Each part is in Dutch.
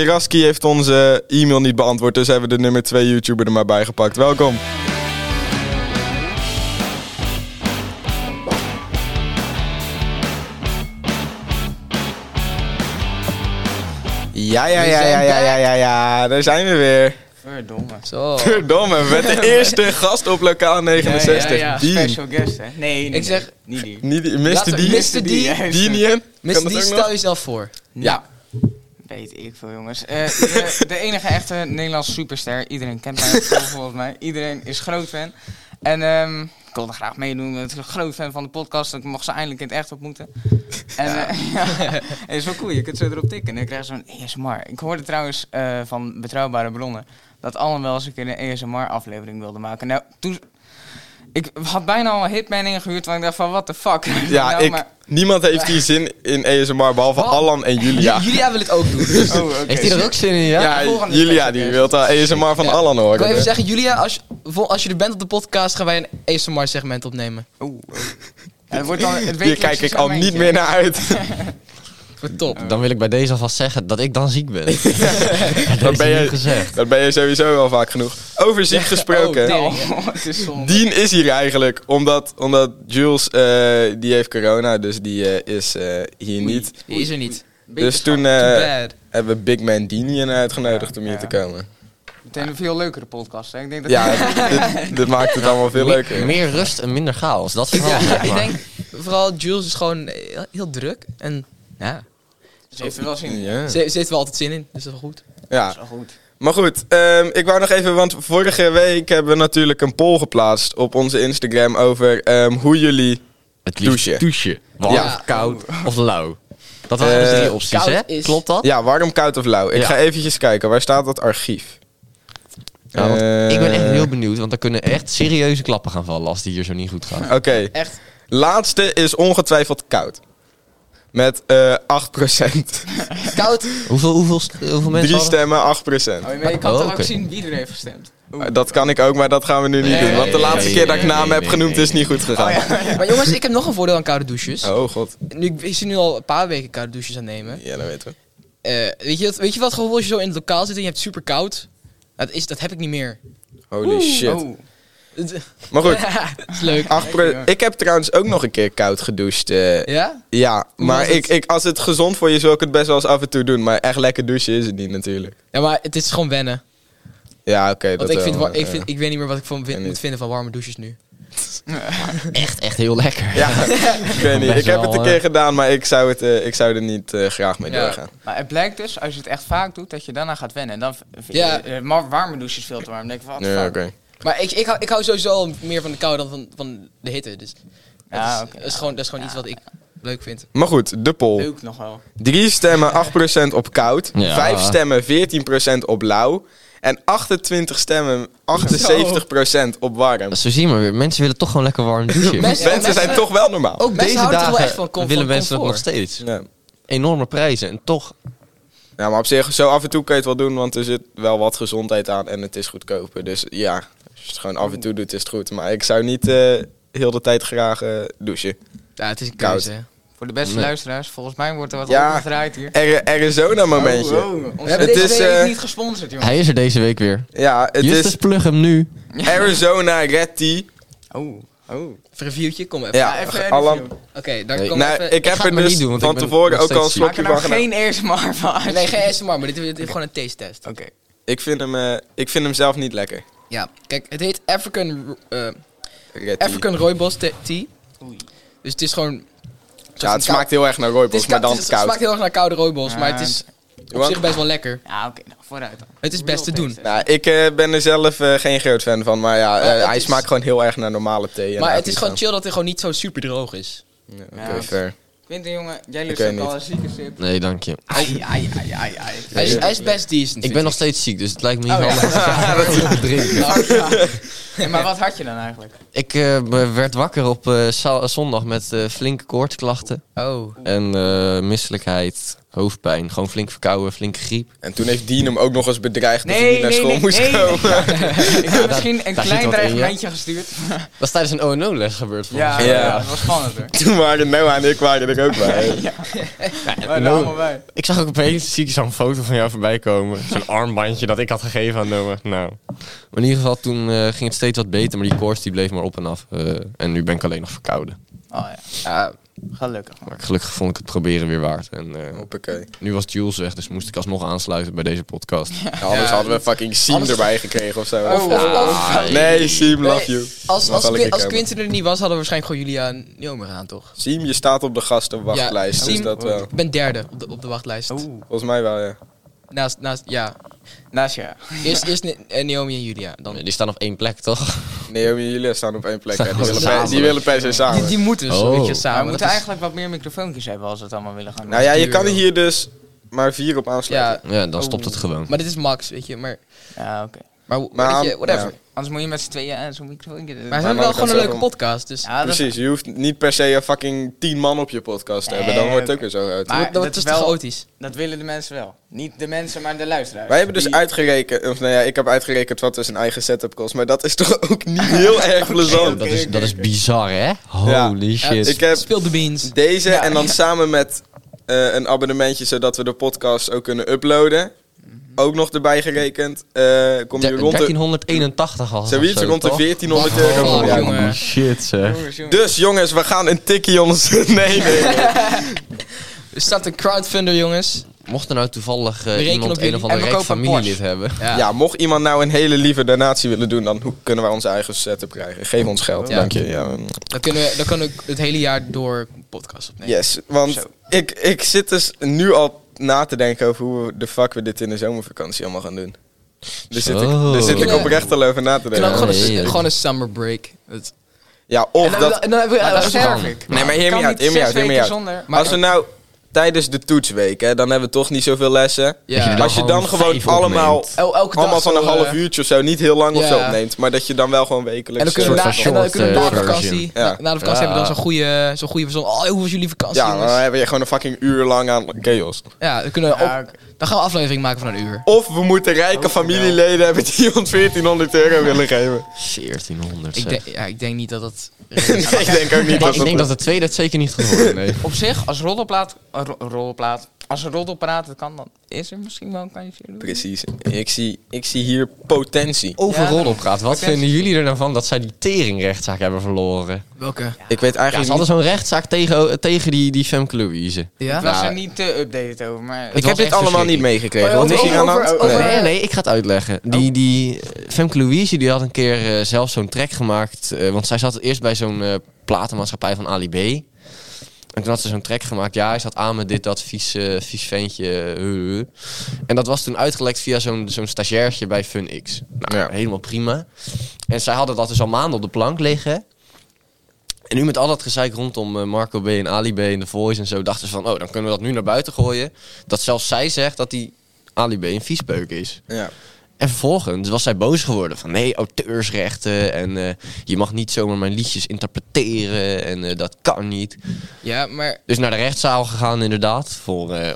Jeraski heeft onze e-mail niet beantwoord, dus hebben we de nummer 2 YouTuber er maar bij gepakt. Welkom. Ja, ja, ja, ja, ja, ja, ja, ja, daar zijn we weer. Verdomme. Zo. Verdomme, met de eerste gast op lokaal 69. Ja, ja, ja. Dean. Special guest, hè? Nee, nee, nee. Ik zeg- Niet die. Niet die, Laten Mr. we- Dean. Mr. Dean. Dean. Deanian. Kan Mr. dat D, ook stel nog? jezelf voor. Ja. Weet ik veel, jongens. Eh, de, de enige echte Nederlandse superster. Iedereen kent mij volgens mij. Iedereen is groot fan. En ehm, ik wilde graag meedoen. Ik ben een groot fan van de podcast. dus Ik mocht ze eindelijk in het echt ontmoeten. En eh, ja. het is wel cool. Je kunt zo erop tikken. En dan krijg je zo'n ASMR. Ik hoorde trouwens eh, van betrouwbare bronnen... dat Allen wel eens een keer een ASMR-aflevering wilde maken. Nou, toen... Ik had bijna al een hitman ingehuurd, want ik dacht van, what the fuck? Ja, Nou, ik, maar- niemand heeft hier zin in ASMR, behalve Wat? Allan en Julia. J- Julia wil het ook doen. Oh, oké. Heeft hij er ook zin in, ja? Ja, volgende Julia special die eh, guest. wil al ASMR van Ja. Allan Ik wil horen. even zeggen, Julia, als, je- vol- als je er bent op de podcast, gaan wij een ASMR-segment opnemen. Oeh. Ja, het wordt dan het Hier wekelijkse kijk ik al niet segmentje. meer naar uit. Wat Top. Dan wil ik bij deze alvast zeggen dat ik dan ziek ben. Dat dat ben ben je- je gezegd. Dat ben je sowieso al vaak genoeg. Over ziek gesproken. oh, Oh, het is zonde. Dean is hier eigenlijk, omdat, omdat Jules, eh, die heeft corona, dus die eh, is eh, hier niet. Die is er niet. Dus toen Too eh, bad. hebben we Big Man Deanian uitgenodigd Ja, om hier ja. te komen. Meteen een veel leukere podcast. Hè? Ik denk dat Ja, dit, dit maakt het allemaal veel leuker. Meer rust en minder chaos. Dat vooral. Ja, zeg ik maar. denk, vooral Jules is gewoon heel, heel druk. En ja, ze heeft er wel zin in. Ja. ze, ze heeft er wel altijd zin in, dus dat is wel goed. Ja, Dat is wel goed. Oh, Maar goed, ehm, ik wou nog even, want vorige week hebben we natuurlijk een poll geplaatst op onze Instagram over ehm, hoe jullie. Het liefst Douchen. Warm, Ja. koud of lauw. Dat waren dus Eh, drie opties, Oh. koud hè? is- Klopt dat? Ja, warm, koud of lauw. Ik Ja. ga eventjes kijken, waar staat dat archief? Ja, want Eh, ik ben echt heel benieuwd, want er kunnen echt serieuze klappen gaan vallen als die hier zo niet goed gaan. Oké, Echt. laatste is ongetwijfeld koud. Met eh 8%. Koud. Hoeveel, hoeveel, st- hoeveel mensen? Drie hadden- stemmen, 8%. Oh, maar je kan Oh, toch ook oké. zien wie er heeft gestemd? Oeh. Eh, Dat kan ik ook, maar dat gaan we nu niet Nee, doen. Want de nee, laatste Oh, nee, keer dat ik nee, namen nee, heb nee, genoemd nee, Oh, is niet goed gegaan. Maar jongens, ik heb nog een voordeel aan koude douches. Oh god. Nu, ik ik zit nu al een paar weken koude douches aan het nemen. Ja, dat weten we. Eh, weet, je, dat- weet je wat gevoel als je zo in het lokaal zit en je hebt super koud? Dat, is, dat heb ik niet meer. Holy shit. Oh. Maar goed, dat is leuk. 8 ik heb trouwens ook nog een keer koud gedoucht eh, Ja? Ja, Hoe maar was het? ik, ik, als het gezond voor je is, wil ik het best wel eens af en toe doen. Maar echt lekker douchen is het niet natuurlijk. Ja, maar het is gewoon wennen. Ja, oké. dat Want ik, wel, vind, wa- ik, eh. vind, ik weet niet meer wat ik van En vind, moet niet. vinden van warme douches nu. Echt, echt heel lekker. Ja, ik weet niet. Best Ik heb wel, het een eh. keer gedaan, maar ik zou, het, eh, ik zou er niet eh, graag mee Ja. doorgaan. Maar het blijkt dus, als je het echt vaak doet, dat je daarna gaat wennen. En dan v- vind je Ja. eh, maar warme douches veel te warm. Dan denk je van, wat Ja, oké. fuck. Maar ik, ik, hou, ik hou sowieso al meer van de kou dan van, van de hitte. Dus dat, Ja, is, oké. dat is gewoon, dat is gewoon iets wat ik leuk vind. Maar goed, de poll. Leuk nog wel. Drie stemmen, 8% op koud. Ja. Vijf stemmen, 14% op lauw. En 28 stemmen, 78% op warm. Zo zien we weer. Mensen willen toch gewoon lekker warm douchen. Mensen- Oh. Mensen zijn toch wel normaal. Ook mensen deze houden toch wel dagen echt van comfort- willen mensen dat nog comfort. steeds. Ja. Enorme prijzen en toch Ja, maar op zich, zo af en toe kun je het wel doen, want er zit wel wat gezondheid aan en het is goedkoper. Dus ja, als je het gewoon af en toe doet, is het goed. Maar ik zou niet eh, heel de tijd graag eh, douchen. Ja, het is een Koud. keuze. hè. Voor de beste Nee. luisteraars, volgens mij wordt er wat Ja. opgedraaid hier. Ari- Arizona-momentje. Oh, oh. Ons hebben het deze is week niet gesponsord, jongen. Hij is er deze week weer. Ja, het Justus, is plug hem nu. Arizona Red Tea. Oh, oh. Reviewtje, kom even. Ja, even Alan. review. Oké, dan Nee, kom Nou, even... ik heb ga het er maar dus niet doen, want ik van ben tevoren nog ook al een steeds Maak slokje er van nou gedaan. geen ASMR van. Nee, geen ASMR, maar dit, dit is gewoon een taste test. Oh. Oké. Ik, vind hem, eh, ik vind hem zelf niet lekker. Ja, kijk, het heet African, eh Red Tea. African rooibos te- tea. Oei. Dus het is gewoon... Ja, het smaakt heel erg naar rooibos, maar koud- dus dan het is- het koud. smaakt heel erg naar koude rooibos, Ja, maar het is op Want- zich best wel lekker. Ja, oké, nou, vooruit dan. Het is best te doen. Nou, Nou, ik eh, ben er zelf eh, geen groot fan van, maar ja, eh, Maar het hij is- smaakt gewoon heel erg naar normale thee. en maar het eigenlijk is niet gewoon chill dat het gewoon niet zo super droog is. zo. Ja, Oké, Ja. fair. Winter, jongen, jij Ik ligt weet ook niet. al een zieke zip. Nee, dank je. Ai, ai, ai, ai, ai. Hij is, hij is best decent. Ik ben nog steeds ziek, dus het lijkt me niet Oh, ja. handig om te drinken. Hey, maar wat had je dan eigenlijk? Ik eh, be- werd wakker op eh, za- zondag met eh, flinke koortsklachten Oh. en eh, misselijkheid, Hoofdpijn, gewoon flink verkouden, flinke griep. En toen heeft Dean hem ook nog eens bedreigd dat hij Nee, niet naar nee, school nee, moest nee, nee. komen. Ik heb misschien een daar zit klein wat in, ja. dreigementje gestuurd. Dat is tijdens een ONO-les gebeurd Ja, volgens mij. Ja. ja, dat was spannend hoor. Toen waren Noah en ik waren er ook bij. We waren er Oh, allemaal bij. Ik zag ook opeens zie ik zo'n foto van jou voorbij komen. Zo'n armbandje dat ik had gegeven aan Noah. Nou, Maar in ieder geval, toen eh, ging het steeds wat beter, maar die koorts die bleef maar op en af. Eh, en nu ben ik alleen nog verkouden. Oh ja. Gelukkig man. Maar gelukkig vond ik het proberen weer waard. En eh, Hoppakee. nu was Jules weg, dus moest ik alsnog aansluiten bij deze podcast. Ja, Nou, anders hadden we fucking Siem Anders- erbij gekregen of zo. Oh, Of- oh, Nee, Siem, love you. Als, Dan als, zal ik Quin- ik als hebben. Quinten er niet was, hadden we waarschijnlijk gewoon Julia en Neo meer aan, toch? Siem, je staat op de gastenwachtlijst. Ja, dus Siem- dat wel. Oh. Ik ben derde op de, op de wachtlijst. Oeh. Volgens mij wel, ja. Naast, naast, ja. Naast je. Eerst, eerst Ne- eh, Naomi en Julia. Dan. Die staan op één plek, toch? Naomi en Julia staan op één plek. hè. Die Samen. willen, per- die willen per se samen. Die, die moeten Oh. zoiets samen. we dus- dat moeten is- eigenlijk wat meer microfoontjes hebben als we het allemaal willen gaan doen. Nou ja, je Duur, kan joh. hier dus maar vier op aansluiten. Ja, Ja, dan stopt Oh. het gewoon. maar dit is Max, weet je. Maar, Ja, oké. maar, maar, Maar- weet je, whatever. ja. Anders moet je met z'n tweeën eh, zo'n microfoontje... Maar ze Maar hebben wel nou, gewoon dat een is leuke wel- podcast, dus... ja, dat, Precies, je hoeft niet per se een fucking tien man op je podcast te hebben. Dan Nee, wordt het ook oké. weer zo groot. Maar dat wordt dat is dat is te wel- chaotisch. dat willen de mensen wel. Niet de mensen, maar de luisteraars. Wij hebben dus Die- uitgerekend, of nou ja, ik heb uitgerekend wat dus een eigen setup kost. Maar dat is toch ook niet heel erg plezant. dat, is, dat is bizar, hè? Ja. Holy shit. Ik heb Speel de beans. deze Ja, en dan ja. samen met eh, een abonnementje, zodat we de podcast ook kunnen uploaden. Mhm. Ook nog erbij gerekend. eh kom je De- rond de, 1381 was het zoiets of zo, rond de toch? Oh, 1400 Wat? euro. Fuck, per jaar. jongen. Holy shit, zeg. Jongens, jongens. Dus jongens, we gaan een tikkie ons nemen. Er staat een crowdfunder, jongens. Mocht er nou toevallig eh, rekenen iemand op een jullie of en andere we rijk kopen een Porsche. familielid hebben... Ja. Ja, mocht iemand nou een hele lieve donatie willen doen, dan hoe kunnen wij onze eigen setup krijgen? Geef ons geld, Ja. dank je. Ja, mm. Dan, kunnen we, dan kan ik het hele jaar door podcast opnemen. yes, want Zo. ik, ik zit dus nu al na te denken over hoe we de fuck we dit in de zomervakantie allemaal gaan doen. Daar zit, ik, Zo. daar zit ik Ja. oprecht al over na te En denken. dan Ja, gewoon, een, nee. gewoon een summer break. Dat- Ja, of En dan- dat... Nou, en dan hebben we... Maar dat dat kan. sterf ik. Nee, maar Ik heer kan me uit, niet heer me zes uit, heer me weken uit. zonder... Maar- Als we nou tijdens de toetsweek, hè, dan hebben we toch niet zoveel lessen. Ja. Dat je er Als je dan dan gewoon gewoon vijf allemaal, opneemt. El- elke dag allemaal van zo, een half eh, uurtje of zo, niet heel lang of Ja. zo opneemt, maar dat je dan wel gewoon wekelijks... En dan kunnen we, eh, na, soort van en dan short, kunnen we na de eh, vakantie, version. na, na de vakantie Ja. hebben we dan zo'n goede, zo'n goede verzon. Oh, hoe was jullie vakantie, Ja, maar jongens? dan hebben we gewoon een fucking uur lang aan chaos. Ja, dan, kunnen we Ja, op- oké. dan gaan we een aflevering maken van een uur. Of we moeten rijke familieleden hebben die ons 1400 euro willen geven. 1400, Ik, zeg. denk- ja, ik denk niet dat dat... Nee, ik denk ook niet Maar dat ik denk dat de tweede het zeker niet gaat worden, nee. Op zich, als roddelplaat... eh, ro- roddelplaat... Als een roddelpraat het kan, dan is er misschien wel een kansje. Precies. Ik zie, ik zie hier potentie. Overal op gaat. Wat Oké. vinden jullie er dan van dat zij die teringrechtszaak hebben verloren? Welke? Ik weet Ja, ze eigenlijk hadden zo'n rechtszaak tegen, tegen die, die Femke Louise. Ja? Ik was Nou, Ja. er niet te updated over, maar... Ik Het heb was dit echt allemaal niet Oh meegekregen. Wat is over- hier aan de over- hand? over- Nee. Oh. over- Nee, nee, ik ga het uitleggen. Die, die eh, Femke Louise die had een keer eh, zelf zo'n track gemaakt. eh, want zij zat eerst bij zo'n eh, platenmaatschappij van Ali B. En toen had ze zo'n track gemaakt. Ja, hij zat aan met dit, dat vies, eh, vies ventje. eh, eh, eh. En dat was toen uitgelekt via zo'n zo'n stagiairtje bij FunX. Nou, Ja. helemaal prima. En zij hadden dat dus al maanden op de plank liggen. En nu met al dat gezeik rondom eh, Marco B. en Ali B. en The Voice en zo... dachten ze van, oh, dan kunnen we dat nu naar buiten gooien. Dat zelfs zij zegt dat die Ali B. een viespeuk is. Ja. En vervolgens was zij boos geworden van nee, auteursrechten en eh, je mag niet zomaar mijn liedjes interpreteren en eh, dat kan niet. Ja, maar... Dus naar de rechtszaal gegaan inderdaad, voor, eh,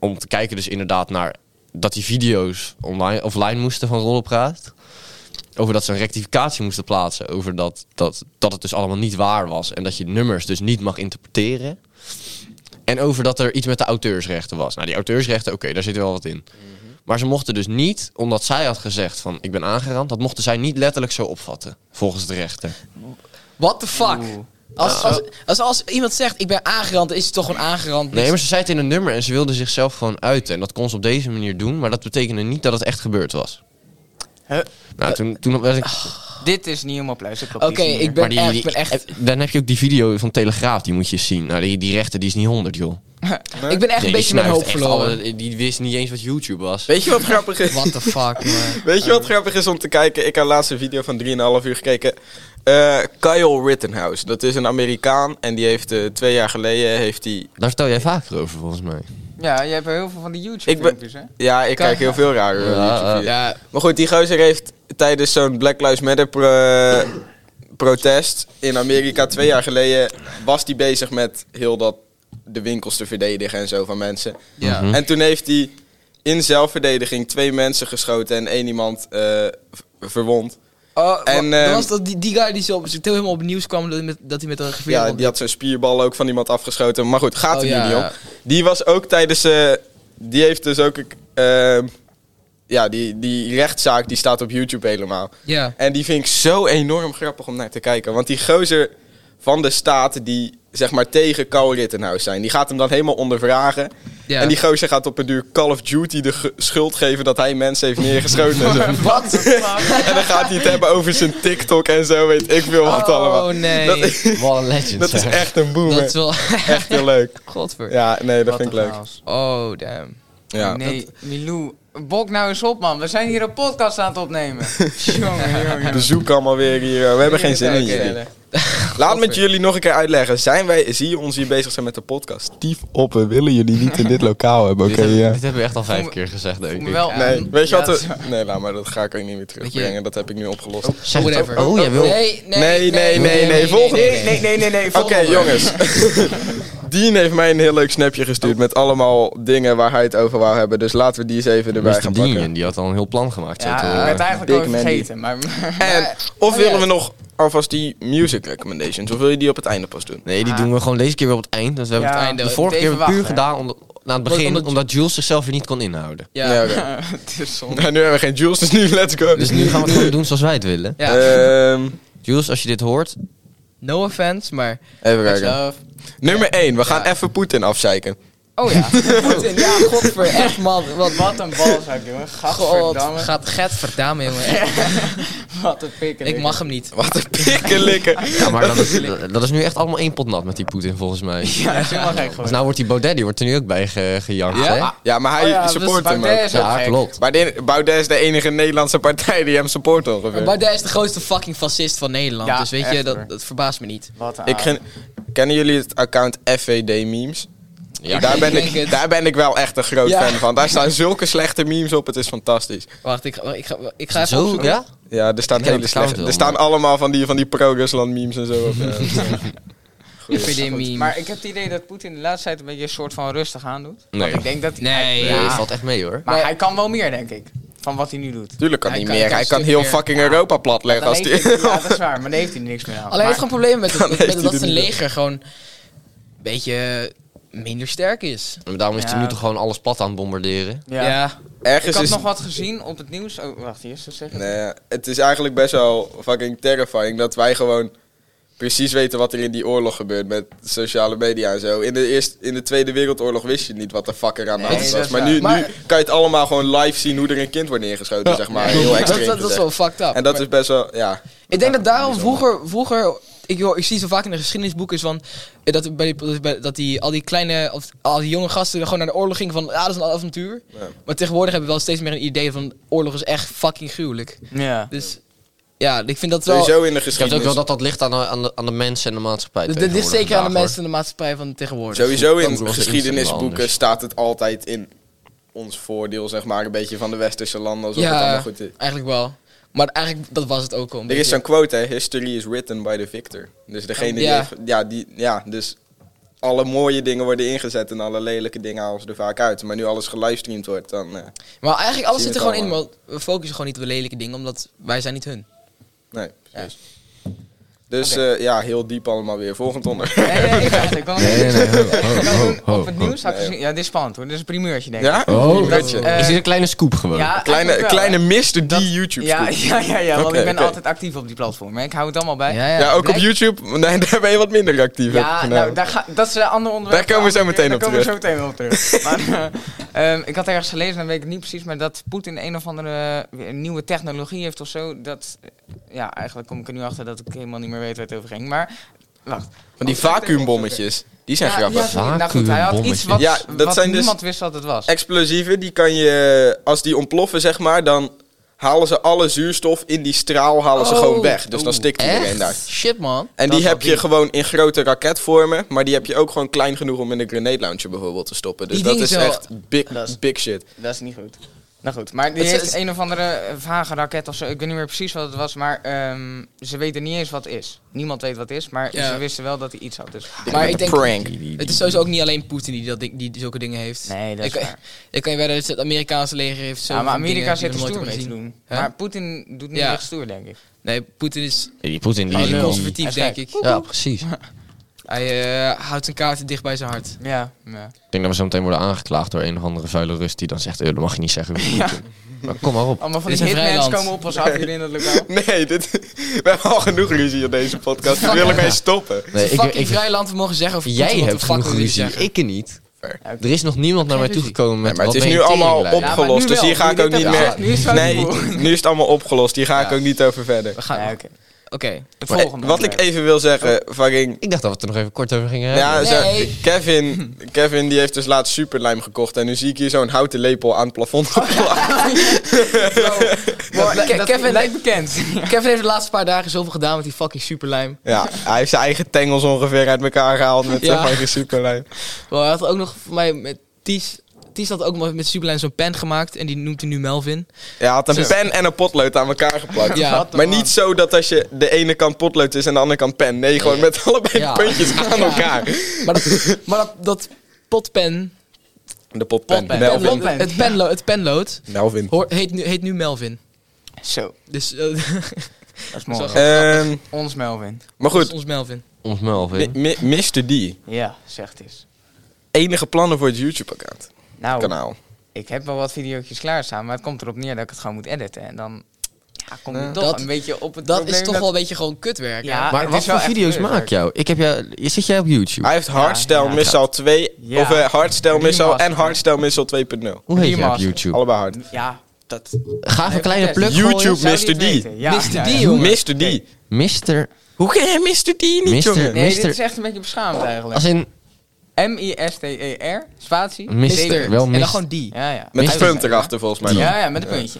om te kijken dus inderdaad naar dat die video's online, offline moesten van Rollenpraat. Over dat ze een rectificatie moesten plaatsen over dat, dat, dat het dus allemaal niet waar was en dat je nummers dus niet mag interpreteren. En over dat er iets met de auteursrechten was. Nou, die auteursrechten, oké, daar zit wel wat in. Maar ze mochten dus niet, omdat zij had gezegd van ik ben aangerand, dat mochten zij niet letterlijk zo opvatten, volgens de rechter. What the fuck? Oeh. Als, als, als, als iemand zegt, ik ben aangerand, dan is het toch gewoon aangerand. Nee, maar ze zei het in een nummer en ze wilde zichzelf gewoon uiten. En dat kon ze op deze manier doen, maar dat betekende niet dat het echt gebeurd was. Huh? Nou, toen, toen was ik... Dit is niet helemaal pluis. Oké, ik ben maar die, echt... ik die- eh, ben echt Dan heb je ook die video van Telegraaf, die moet je eens zien. Nou, die, die rechter, die is niet honderd, joh. ik ben echt Nee, een beetje die mijn snuift hoop echt verloren. alle- die wist niet eens wat YouTube was. Weet je wat grappig is? What the fuck, man. Weet je wat grappig is om te kijken? Ik had laatst een video van 3,5 uur gekeken. Eh, Kyle Rittenhouse, dat is een Amerikaan en die heeft eh, twee jaar geleden heeft hij. Daar vertel jij vaker over, volgens mij. Ja, je hebt heel veel van die Ik ben- YouTube-filmpjes, hè? Ja, ik Kyle- kijk heel veel rare Ja, YouTube-video's. Ja, Maar goed, die gozer heeft tijdens zo'n Black Lives Matter pro- protest in Amerika twee jaar geleden was die bezig met heel dat de winkels te verdedigen en zo van mensen. Ja. Mhm. En toen heeft hij in zelfverdediging twee mensen geschoten en één iemand eh, v- verwond. Oh, En, en, dat ehm, was dat die, die guy die zo op zijn til helemaal op het nieuws kwam dat hij met, dat hij met een geveer Ja, op- die had zijn spierbal ook van iemand afgeschoten. Maar goed, gaat Oh, er ja, nu niet om. ja. Die was ook tijdens... eh, die heeft dus ook... een k- ehm, ja, die, die rechtszaak die staat op YouTube helemaal. Ja. En die vind ik zo enorm grappig om naar te kijken. Want die gozer van de staat die zeg maar tegen Carl Rittenhouse zijn... die gaat hem dan helemaal ondervragen. Ja. En die gozer gaat op een duur Call of Duty de ge- schuld geven... dat hij mensen heeft neergeschoten. en zo. Wat de fuck? En dan gaat hij het hebben over zijn TikTok en zo, weet ik veel wat allemaal. Oh nee. Dat, Dat, Wat een legend. dat is zeg. echt een boomer. is wel... Echt heel leuk. Godver. Ja, nee, dat Wat vind ik een leuk. chaos. Oh, damn. Ja. nee, Milou, bok nou eens op, man. We zijn hier een podcast aan het opnemen. jongen, jongen. Bezoek allemaal weer hier. eh, We Dus hebben geen zin in jullie. Laat met jullie nog een keer uitleggen. Zijn wij, zie je ons hier bezig zijn met de podcast? Tief op, we willen jullie niet in dit lokaal hebben, dit, oké? hebben- ja. dit hebben we echt al vijf Voel me- keer gezegd, Ik denk me ik. wel... Nee, weet je Ja, wat? dat is- we- Nee, laat maar, dat ga ik ook niet meer terugbrengen. Dat heb ik nu opgelost. Oké, Zeg Whatever. het ook. Oh, jij wil... Nee, nee, Nee, nee, nee, nee, volgende. Nee, nee, nee, nee, nee. volgende. jongens. Dean heeft mij een heel leuk snapje gestuurd met allemaal dingen waar hij het over wou hebben. Dus laten we die eens even erbij Mr. gaan pakken. Dean, die had al een heel plan gemaakt. eh, zo Ja, te ik horen. werd eigenlijk Dick al Mandy. vergeten, maar... En of Oh, willen ja. we nog alvast die music recommendations? Of wil je die op het einde pas doen? Nee, die Ah. doen we gewoon deze keer weer op het eind. Dus we hebben Ja, het einde. De even vorige keer hebben we puur wachten. gedaan om, na het begin, omdat- omdat, Jules zichzelf weer niet kon inhouden. Ja. Ja, Ja. oké. Het is zonde. Nou, nu hebben we geen Jules, dus nu let's go. Dus nu gaan we het gewoon doen zoals wij het willen. Ehm, Jules, als je dit hoort, No offense, maar... even kijken. Zelf. Nummer 1, we gaan even Poetin afzeiken. Oh ja. Poetin, ja, godver. Echt, man. Wat... Wat een balzak, jongen. God, Gadverdamme. gaat get verdame, jongen. Wat een pikken. Ik mag hem niet. Wat een pikkelikken. ja, maar dat is, dat is nu echt allemaal één pot nat met die Poetin volgens mij. Ja, dat is helemaal gek Dus geworden. nou wordt die Baudet, die wordt er nu ook bij ge, gejankt, hè? Ja? Ja, Ah, maar hij Oh ja, support dus hem Baudet ook. is ook Ja, gek. klopt. Maar de- Baudet is de enige Nederlandse partij die hem support ongeveer. Baudet is de grootste fucking fascist van Nederland. Ja, dus weet je, echt, dat, hoor. dat verbaast me niet. Wat een Ik aap. ken- kennen jullie het account FVD Memes? Ja, daar, ben denk ik, het. daar ben ik wel echt een groot Ja. fan van. Daar staan zulke slechte memes op, het is fantastisch. Wacht, ik ga, ik ga, ik ga even Zo, opzoeken. ja? Ja, er staan Ik ken hele het account slechte... wel, Er staan maar- allemaal van die, van die pro-Rusland memes en zo op. ja. Goeie. FVD meme. Maar ik heb het idee dat Poetin de laatste tijd een beetje een soort van rustig aandoet. Nee. Want ik denk dat... Nee, Nee, Ja. dat valt echt mee hoor. Maar Maar- hij kan wel meer, denk ik. Van wat hij nu doet. Tuurlijk kan Hij hij kan- meer. kan Hij een kan stuk heel meer. fucking Europa platleggen Dan als heeft die... hij- ja, dat is waar. Maar dan heeft hij er niks meer aan. Alleen hij heeft Maar- gewoon problemen met, het, Dan met heeft hij dat er zijn niet leger gewoon een beetje minder sterk is. En daarom is hij Ja. nu toch gewoon alles plat aan het bombarderen. Ja. Ja. Ik Ergens had is... nog wat gezien op het nieuws. Oh, wacht, eerst zo zeggen. Nee, het is eigenlijk best wel fucking terrifying dat wij gewoon precies weten wat er in die oorlog gebeurt met sociale media en zo. In de, eerst, in de Tweede Wereldoorlog wist je niet wat de fuck er aan de Nee, hand dat was. is Maar waar. nu, Maar- nu kan je het allemaal gewoon live zien hoe er een kind wordt neergeschoten, zeg maar. Ja, Heel dat, extreem dat, dat is gezegd. wel fucked up. En dat is best wel, ja. ik denk dat daarom vroeger, vroeger ik, hoor, ik zie zo vaak in de geschiedenisboeken is van, eh, dat, bij die, bij- dat die, al die kleine, of al die jonge gasten gewoon naar de oorlog gingen van, ah, dat is een avontuur. Maar tegenwoordig hebben we wel steeds meer een idee van, oorlog is echt fucking gruwelijk. Ja. Dus ja, ik vind dat wel... Sowieso in de Je hebt ook geschiedenis. wel dat dat ligt aan, aan, de, aan de mensen en de maatschappij. Dit ligt tegenwoordig zeker aan de vandaag, mensen in de maatschappij van tegenwoordig. Sowieso Ook nog in eens geschiedenisboeken anders. staat het altijd in ons voordeel, zeg maar. Een beetje van de westerse landen, alsof het allemaal Ja, goed is. eigenlijk wel. Maar eigenlijk, dat was het ook al. een Er is beetje. zo'n quote, hè? History is written by the victor. Dus degene Oh, die... Ja. heeft- ja, die, ja, dus alle mooie dingen worden ingezet en alle lelijke dingen halen ze er vaak uit. Maar nu alles gelivestreamd wordt, dan... eh, Maar eigenlijk alles Zie zit je er het gewoon in, maar we focussen gewoon niet op de lelijke dingen, omdat wij zijn niet hun. nee, precies. Dus eh, ja, heel diep allemaal weer. Volgend onder. Nee, nee, ik dacht, ik kan hoor. Nee, nee, nee. Ik ho, kan ho, doen ho, op het ho. nieuws. Had ik Nee, gezien. Ja, dit is spannend hoor. Dit is een primeurtje, denk ik. Oh, ja? Oh, Dat- eh, is dit een kleine scoop gewoon? Ja, Kleine, eigenlijk wel, kleine hè. mister die YouTube Ja, ja, ja, ja, want Oké, ik ben oké. altijd actief op die platform. hè. Ik hou het allemaal bij. ja, ook op YouTube. Nee, daar ben je wat minder actief. heb ik Ja, gedaan. nou, daar ga, dat is een ander onderwerp. Daar komen we zo meteen op Daar komen we zo meteen wel op terug. maar, eh, ehm, ik had ergens gelezen, dan weet ik het niet precies, maar dat Poetin een of andere eh, nieuwe technologie heeft of zo. Dat, eh, ja, eigenlijk kom ik er nu achter dat ik helemaal niet meer weet waar het over ging. Maar, wacht. Oh, Van die vacuümbommetjes. Die zijn Ja, grappig. ja, sorry. nou goed, hij had iets wat, Ja, dat wat zijn dus- niemand wist wat het was. explosieven, die kan je, als die ontploffen zeg maar, dan halen ze alle zuurstof in die straal halen ze Oh. gewoon weg. Dus dan stikt iedereen daar. Echt? Shit, man. En Dat die is heb wel je diep. gewoon in grote raketvormen, maar die heb je ook gewoon klein genoeg om in een grenade launcher bijvoorbeeld te stoppen. Dus Die dat ding is is wel- echt big, Dat is- big shit. Dat is niet goed. Nou goed, maar die Het is- heeft het is- een of andere eh, vage raket of zo. Ik weet niet meer precies wat het was, maar ehm, ze weten niet eens wat het is. Niemand weet wat het is, maar Ja. ze wisten wel dat hij iets had. Dus. Maar ik denk- Prank. Het is sowieso ook niet alleen Poetin die, dat ding- die, die zulke dingen heeft. Nee, dat ik, is waar. ik kan je wedden, dat het Amerikaanse leger heeft zo. Ja, maar Amerika zit er stoer mee te gezien. doen. Hè? Maar Poetin doet niet Ja. echt stoer, denk ik. Nee, Poetin is Die Poetin hij is lul. conservatief, Hij is denk ik. Ja, precies. Ik Hij eh, houdt zijn kaarten dicht bij zijn hart. Ja, ja. denk dat we zo meteen worden aangeklaagd door een of andere vuile Rus die dan zegt, eh, dat mag je niet zeggen. over Poetin. Maar kom maar op. Allemaal van Dit die is een vrij hitmans land. komen op ons af hier in dat lokaal. Nee, dit, we hebben al genoeg ruzie in deze podcast. Daar wil ik mee stoppen. Nee, fucking vrij land, we mogen zeggen over jij Poetin wat hebt we fucking genoeg willen ruzie, zeggen. ik niet. Fair. Er is nog niemand naar mij ruzie. toegekomen met Nee, maar het wat is ben nu je allemaal teringlijn? Ja, maar opgelost, nu dus hier wel. ga ik Nu ook dit niet hebt meer... gezegd, nu is het wel Nee, cool. nu is het allemaal opgelost. Hier ga ik ook niet over verder. We gaan. Ja, Oké. oké. Het Eh, volgende. Wat ik onderwerp. even wil zeggen, fucking... Ik dacht dat we het er nog even kort over gingen hebben. Oh. Ja, Nee. zo- Kevin, Kevin die heeft dus laatst superlijm gekocht. En nu zie ik hier zo'n houten lepel aan het plafond geplakt. Dat Wow, li- Ke- dat lijkt Kevin lijkt bekend. Kevin heeft de laatste paar dagen zoveel gedaan met die fucking superlijm. Ja, hij heeft zijn eigen tengels ongeveer uit elkaar gehaald met Ja. zijn fucking superlijm. Wow, hij had ook nog voor mij met Ties. Ties had ook met superlijm zo'n pen gemaakt en die noemt hij nu Melvin. Ja, had een pen en een potlood aan elkaar geplakt. Ja. Wat maar niet zo dat als je de ene kant potlood is en de andere kant pen. Nee, gewoon met allebei Ja. puntjes aan elkaar. Maar dat, maar dat, dat potpen, De potpen. Potpen. Melvin. Potpen. Potpen. het, penlo, het penlood, Melvin. hoor, heet, nu, heet nu Melvin. Zo, Dus eh, dat is mooi. Zo. Ehm, Ons Melvin. maar dat is goed, ons Melvin. Ons Melvin. Mi- mi- Mr. D. Ja, zegt eens. Enige plannen voor het YouTube-account. Nou, Kanaal. ik heb wel wat video's klaarstaan, maar het komt erop neer dat ik het gewoon moet editen. En dan ja, kom je Ja. toch Dat- een beetje op het Dat probleem is toch wel een beetje gewoon kutwerk. Ja, hè? het maar is wat wel voor echt video's leuk. maak jou? Ik heb jou... Zit jij op YouTube? Hij heeft Hardstyle ja, Missile 2, Ja. of eh, Hardstyle Missile Remaster. en Hardstyle Missile 2.0. Hoe heet jij op Remaster. YouTube? Allebei hard. Ja, dat... Gaaf een kleine plug vertel. YouTube Zou die Mr. het D. weten? Ja, Mr. ja, D, ja. jongen. Mr. D. Mr. Hoe ken je Mr. D niet, Mr. jongen? Nee, Nee, Mr. dit is echt een beetje beschaamd eigenlijk. Als in... M-I-S-T-E-R, E spatie. Mr. zeker. Wel En Mr. dan gewoon die. Ja, ja. Met Mr. een punt erachter volgens mij. Ja, ja, met een puntje.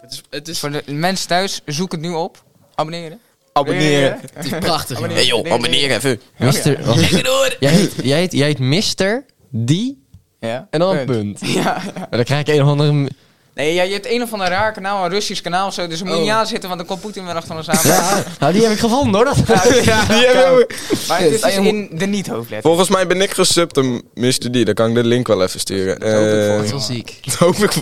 Het is, het is Voor de mensen thuis, zoek het nu op. Abonneren. Abonneren. prachtig. jongen. Abonneren. even. Mr. wat- Jij heet, jij heet, jij heet Mr. Die Ja. en dan een punt. Ja, ja. Maar dan krijg ik een of andere... m- Nee, ja, je hebt een of ander raar kanaal, een Russisch kanaal of zo. Dus daar moet je niet Oh. aan zitten, want dan komt Poetin weer achter ons aan. Ja, nou die heb ik gevonden hoor. Dat... Ja, die hebben we- Maar het is dus in de niet-hoofdletter. Volgens mij ben ik gesubt een Mr. D. Dan kan ik de link wel even sturen. Dat Eh is wel ziek. dat hoop ik.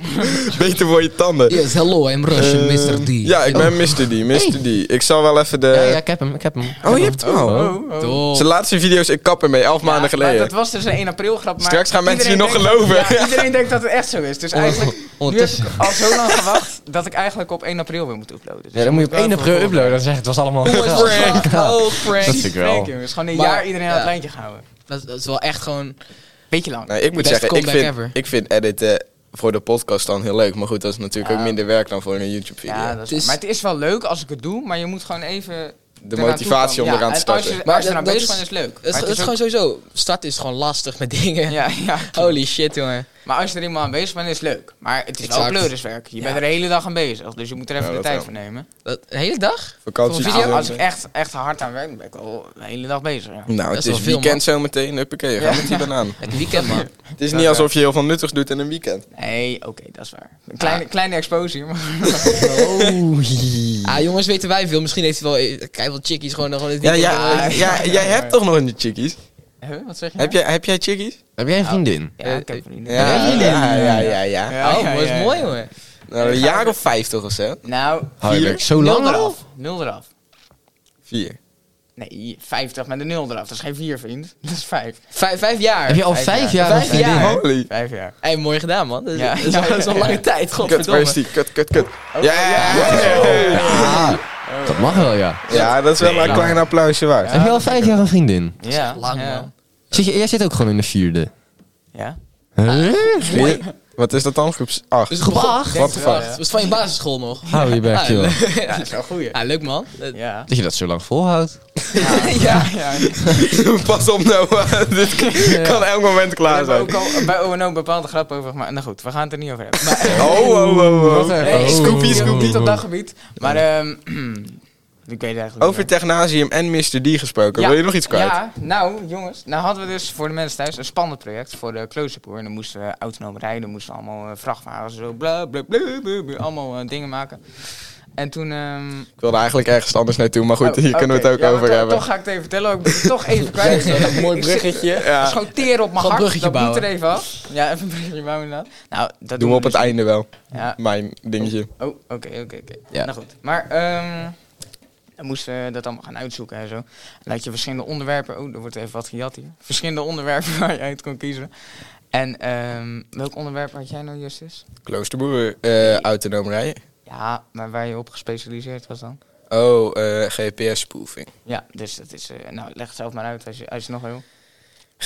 Beter voor je tanden. Yes, hello, I'm Russian, Eh, Mr. D. Ja, ik ben Mr. D. Mr. D. Ik zal wel even de... Eh, Ja, ja, ik heb hem, ik heb hem. Oh, je hebt hem al. Dol. Zijn laatste video's, ik kap ermee. Elf maanden Ja, maar geleden. Dat was dus een 1 april grap. Maar Straks gaan mensen iedereen je nog denkt dat- geloven. ja, iedereen denkt dat het echt zo is. Dus eigenlijk nu heb Ondertussen. ik al zo lang gewacht dat ik eigenlijk op 1 april weer moet uploaden. Dus Ja, dan moet je op 1 april uploaden. Dan zeg ik, het was allemaal Oh, een prank. Oh, dat prank. vind ik wel. Dus gewoon een Maar- jaar iedereen aan het ja. lijntje gehouden. Dat, dat is wel echt gewoon... Beetje lang. Nee, ik moet Best zeggen, ik comeback vind, ever. ik vind editen voor de podcast dan heel leuk. Maar goed, dat is natuurlijk Ja. ook minder werk dan voor een YouTube-video. ja, dat Het is, is- maar het is wel leuk als ik het doe, maar je moet gewoon even... de motivatie om eraan te starten. Maar Maar als je dat- dat eraan bezig is- bent, is het leuk. Dat is, Maar dat is ook- gewoon sowieso... Starten is gewoon lastig met dingen. Ja, ja. Holy shit, jongen. Maar als je er eenmaal aan bezig bent, is het leuk. Maar het is wel Exact. pleuriswerk. Je Ja. bent er de hele dag aan bezig, dus je moet er even Ja, de dat wel. tijd voor nemen. Dat, de hele dag? Vakantie. Voor Nou, video? als ik echt, echt hard aan werk, ben ben ik al de hele dag bezig. ja. Nou, is het wel is veel, man. weekend zometeen. Huppakee, ga Ja. met die banaan. Het weekend, man. Het is niet alsof je heel veel nuttigs doet in een weekend. Nee, oké, dat is waar. Een kleine, kleine exposure. Maar Oh, Ah, jongens, weten wij veel. Misschien heeft hij wel... Kijk, wel Oh, chickies gewoon... gewoon het Ja, weekend ja, gewoon- ja, jij hebt toch nog een chickies? Huh, wat zeg je? Heb, jij, heb jij chickies? Heb jij een vriendin? nou? Ja, ik heb er niet. Ja, ja, ja. ja, ja. Ja, Oh, ja, dat is ja, mooi, ja. jongen. Nou, een jaar of vijftig of zo. Nou, Oh, je Vier. werkt zo nul lang al? eraf. Nul eraf. Vier. Nee, 50 met een nul eraf. Dat is geen vier, vriend. Dat is vijf. Vijf, vijf jaar. Heb je al Vijf vijf jaar. jaar? Vijf een vriendin? jaar. Holy. Vijf jaar. Hey, mooi gedaan, man. Dat is, Ja. dat is wel- dat is wel een Ja. lange tijd, Kut, waar is godverdomme. die? Kut, kut, kut. Oh, Ja, ja. ja. Ja, dat mag wel, ja. Ja, dat is wel een klein applausje waard. Heb je al vijf jaar een vriendin? Ja. Lang, ja. man. Zit je, jij zit ook gewoon in de vierde. Ja. Huh? Vier- Wat is dat dan? Groep 8. Dus Groep begon- acht? Denk What the het wel, fuck? ja. Dat was van je basisschool nog. Hou je bek, Ah, joh. Ja, dat is wel goed. Ah, leuk, man. Eh, Ja. Dat je dat zo lang volhoudt. Ja, ja. Pas op nou, dit kan elk moment We klaar hebben zijn. ook al bij ONO bepaalde grappen over gemaakt. Nou goed, we gaan het er niet over hebben. Maar, Oh, oh, oh, oh. Wat erg. Hey, Oh. Scoopy, niet Scoopy. op dat gebied. Maar ehm Ik weet het eigenlijk niet Over meer. Technasium en Mr. D gesproken. Ja. Wil je nog iets kwijt? Ja, nou jongens, nou hadden we dus voor de mensen thuis een spannend project voor de close-up hoor. En dan moesten we autonoom rijden, dan moesten we allemaal eh, vrachtwagens zo bla bla bla, bla, bla, allemaal eh, dingen maken. En toen... ehm, Ik wilde eigenlijk ergens anders naartoe, maar goed, oh, hier kunnen we oké. het ook Ja, maar over toch- hebben. Toch ga ik het even vertellen, ik ben het toch even kwijt. mooi Ik zit- bruggetje. Ja. Ja. Schoteren op mijn Gewoon hart, bruggetje dat bouwen. moet er even af. Ja, even een bruggetje bouwen inderdaad. Nou, dat Doen we op het dus- einde wel. Ja, Mijn dingetje. Oh, oké, oké, oké. Ja. Nou goed. Maar ehm dan moesten we dat allemaal gaan uitzoeken en zo. En dan had je verschillende onderwerpen. Oh, er wordt even wat gejat hier. Verschillende onderwerpen waar je uit kon kiezen. En ehm, welk onderwerp had jij nou, Justus? Kloosterboer, eh autonoom rijden. Ja, maar waar je op gespecialiseerd was dan? Oh, eh, GPS-spoofing. Ja, dus dat is... eh, nou, leg het zelf maar uit als je, als je nog wil.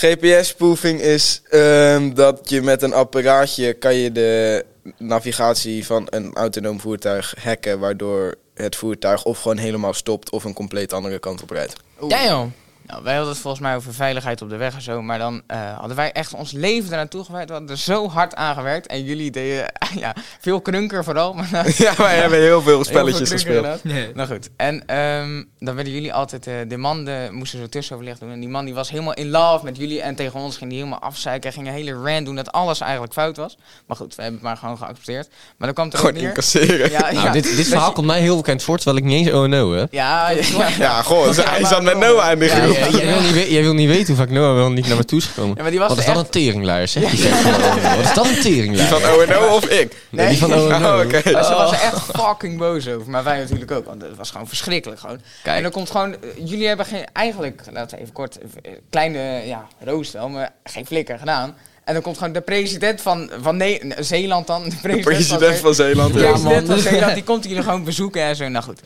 GPS-spoofing is ehm, dat je met een apparaatje kan je de navigatie van een autonoom voertuig hacken, waardoor het voertuig of gewoon helemaal stopt of een compleet andere kant op rijdt. Oeh. Damn. Nou, wij hadden het volgens mij over veiligheid op de weg en zo. Maar dan eh, hadden wij echt ons leven eraan toegewijd. We hadden er zo hard aan gewerkt. En jullie deden ja, veel knunker vooral. Maar nou, ja, wij hebben heel veel heel veel spelletjes knunker gespeeld. inderdaad. Nou goed, en ehm, dan werden jullie altijd, eh, de man de, moesten zo tussenoverleg doen. En die man die was helemaal in love met jullie. En tegen ons ging die helemaal afzeiken. En ging een hele rant doen dat alles eigenlijk fout was. Maar goed, we hebben het maar gewoon geaccepteerd. Maar dan kwam het erop Gewoon neer. incasseren. Ja, Ja, Nou, ja. dit, dit verhaal komt mij heel bekend voor, terwijl ik niet eens ONO heb. Ja, ja, ja. goh, Ja, hij maar- zat met Noah in de Ja, groep. Jij, jij wil niet we- jij wil niet weten hoe vaak Noah wel niet naar me toe is gekomen. Ja, maar die was Wat is er dat echt- een teringluier? Zeg die shit gewoon. Wat is dat een Die teringluier? van O&O of ik? Nee, die van ONO. Oh, oké. Maar ze was er echt fucking boos over. Maar wij natuurlijk ook, want het was gewoon verschrikkelijk. Gewoon. Kijk. En dan komt gewoon... eh, jullie hebben geen... Eigenlijk, laten we even kort... eh, Kleine, eh, ja, roost wel, maar geen flikker gedaan. En dan komt gewoon de president van, van Ne- Zeeland dan. De president, President van, van Zeeland. de Ja, president van Zeeland. Die komt jullie gewoon bezoeken en zo. Nou goed.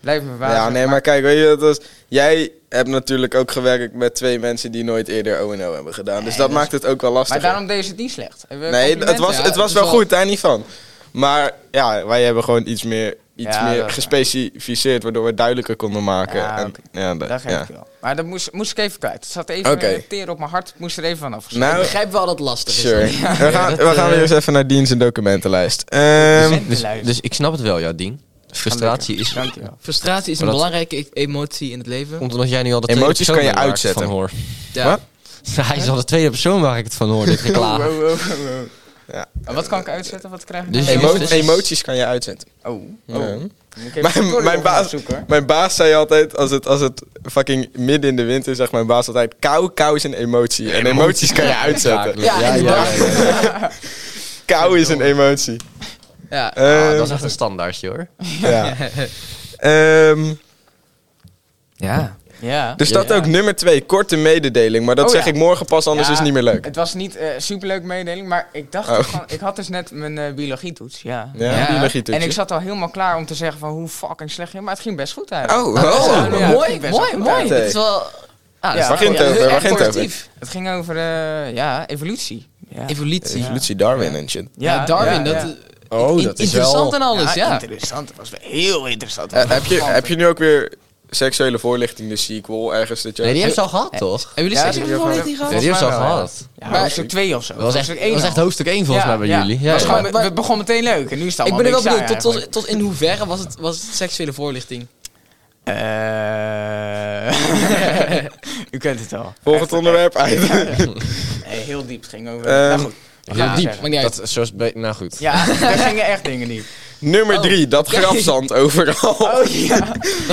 Blijf me verbazen. ja nee, maar kijk, weet je, dat was, jij hebt natuurlijk ook gewerkt met twee mensen die nooit eerder O&O hebben gedaan. Dus dat, maakt het ook wel lastig. Maar daarom deed ze het niet slecht. Eh, Nee, complimenten. het was, het ja, was het wel is wel- goed, daar niet van. Maar ja, wij hebben gewoon iets meer, iets Ja, dat meer is gespecificeerd, waardoor we het duidelijker konden maken. Ja, En- oké. ja, dat- Dat geef ja. ik je wel. Maar dat moest, moest ik even kwijt. Het zat even Oké. eh, teren op mijn hart. Het moest er even van afgesloten. Ik Nou, begrijp wel dat het lastig is. sure. we gaan, we gaan weer eens even naar dienst- en documentenlijst. Ehm, Presentenlijst. Dus, dus ik snap het wel, ja, Dien. Frustratie is... Dankjewel. Frustratie is een Maar dat- belangrijke e- emotie in het leven. Komt omdat jij nu al de tweede Emoties kan persoon je bent waar ik het uitzetten. Van hoor. Ja. Wat? Hij is al de tweede persoon waar ik het van hoor, dit geklaag. Wow, wow, wow, wow. Ja. En wat kan ik uitzetten? Wat krijg ik Dus dan? je emo- dus- emoties kan je uitzetten. Oh, oh. Ja. Moet ik even Mijn- tutorial mijn gaan baas- zoeken, hoor. Mijn baas zei altijd, als het, als het fucking midden in de winter, zegt mijn baas altijd, kou, kou is een emotie. En emoties kan je uitzetten. Ja, ja, ja, ja. Kou is een emotie. Ja. Ah, dat Ehm is echt een standaardje hoor. ja. Ehm, Ja. Ja. Dus dat ook nummer twee, korte mededeling. Maar dat Oh, zeg ja. ik morgen pas, anders Ja, is het niet meer leuk. Het was niet eh superleuk mededeling, maar ik dacht Oh. gewoon... Ik had dus net mijn eh biologietoets, ja. Ja, Ja. biologietoetsje. En ik zat al helemaal klaar om te zeggen van hoe fucking slecht je... Maar het ging best goed uit. Oh, oh. ja, mooi, ja, het mooi, ging best mooi, goed uit. Dit is wel... Ah, dat is Waar wel- ging het over? echt Waar ging het over? positief. Het ging over, eh, ja, evolutie. Ja, Evolutie. Ja, Evolutie Darwin en shit. Darwin, ja, dat... ja. Oh, in- dat is interessant wel... en alles, Ja, ja. interessant. Het was wel heel interessant. Eh, heb, je, heb je nu ook weer seksuele voorlichting, de sequel, ergens dat je... Nee, die hebben ze al gehad, toch? Hebben jullie Ja, seks dat- over ja, voorlichting gehad? Nee, die hebben ze al Volgens mij wel, gehad. Ja, Maar- hoofdstuk 2 of zo. Dat was echt, Hoofdstuk dat één was echt al. hoofdstuk 1 volgens mij bij jullie. Ja, was ja. gewoon- Maar- we begonnen meteen leuk en nu is het Ik allemaal ben er wel niks benieuwd, tot, saai tot, tot in hoeverre was het, was het seksuele voorlichting? eigenlijk. Eh, U kent het al. Volgend onderwerp uit. Nee, heel diep het ging over. Ehm, nou goed. Heel Ja, diep. zeggen. Maakt niet uit. Dat, zoals bij, nou goed. Ja, daar gingen echt dingen niet. Nummer drie, dat grafzand overal. Oh ja.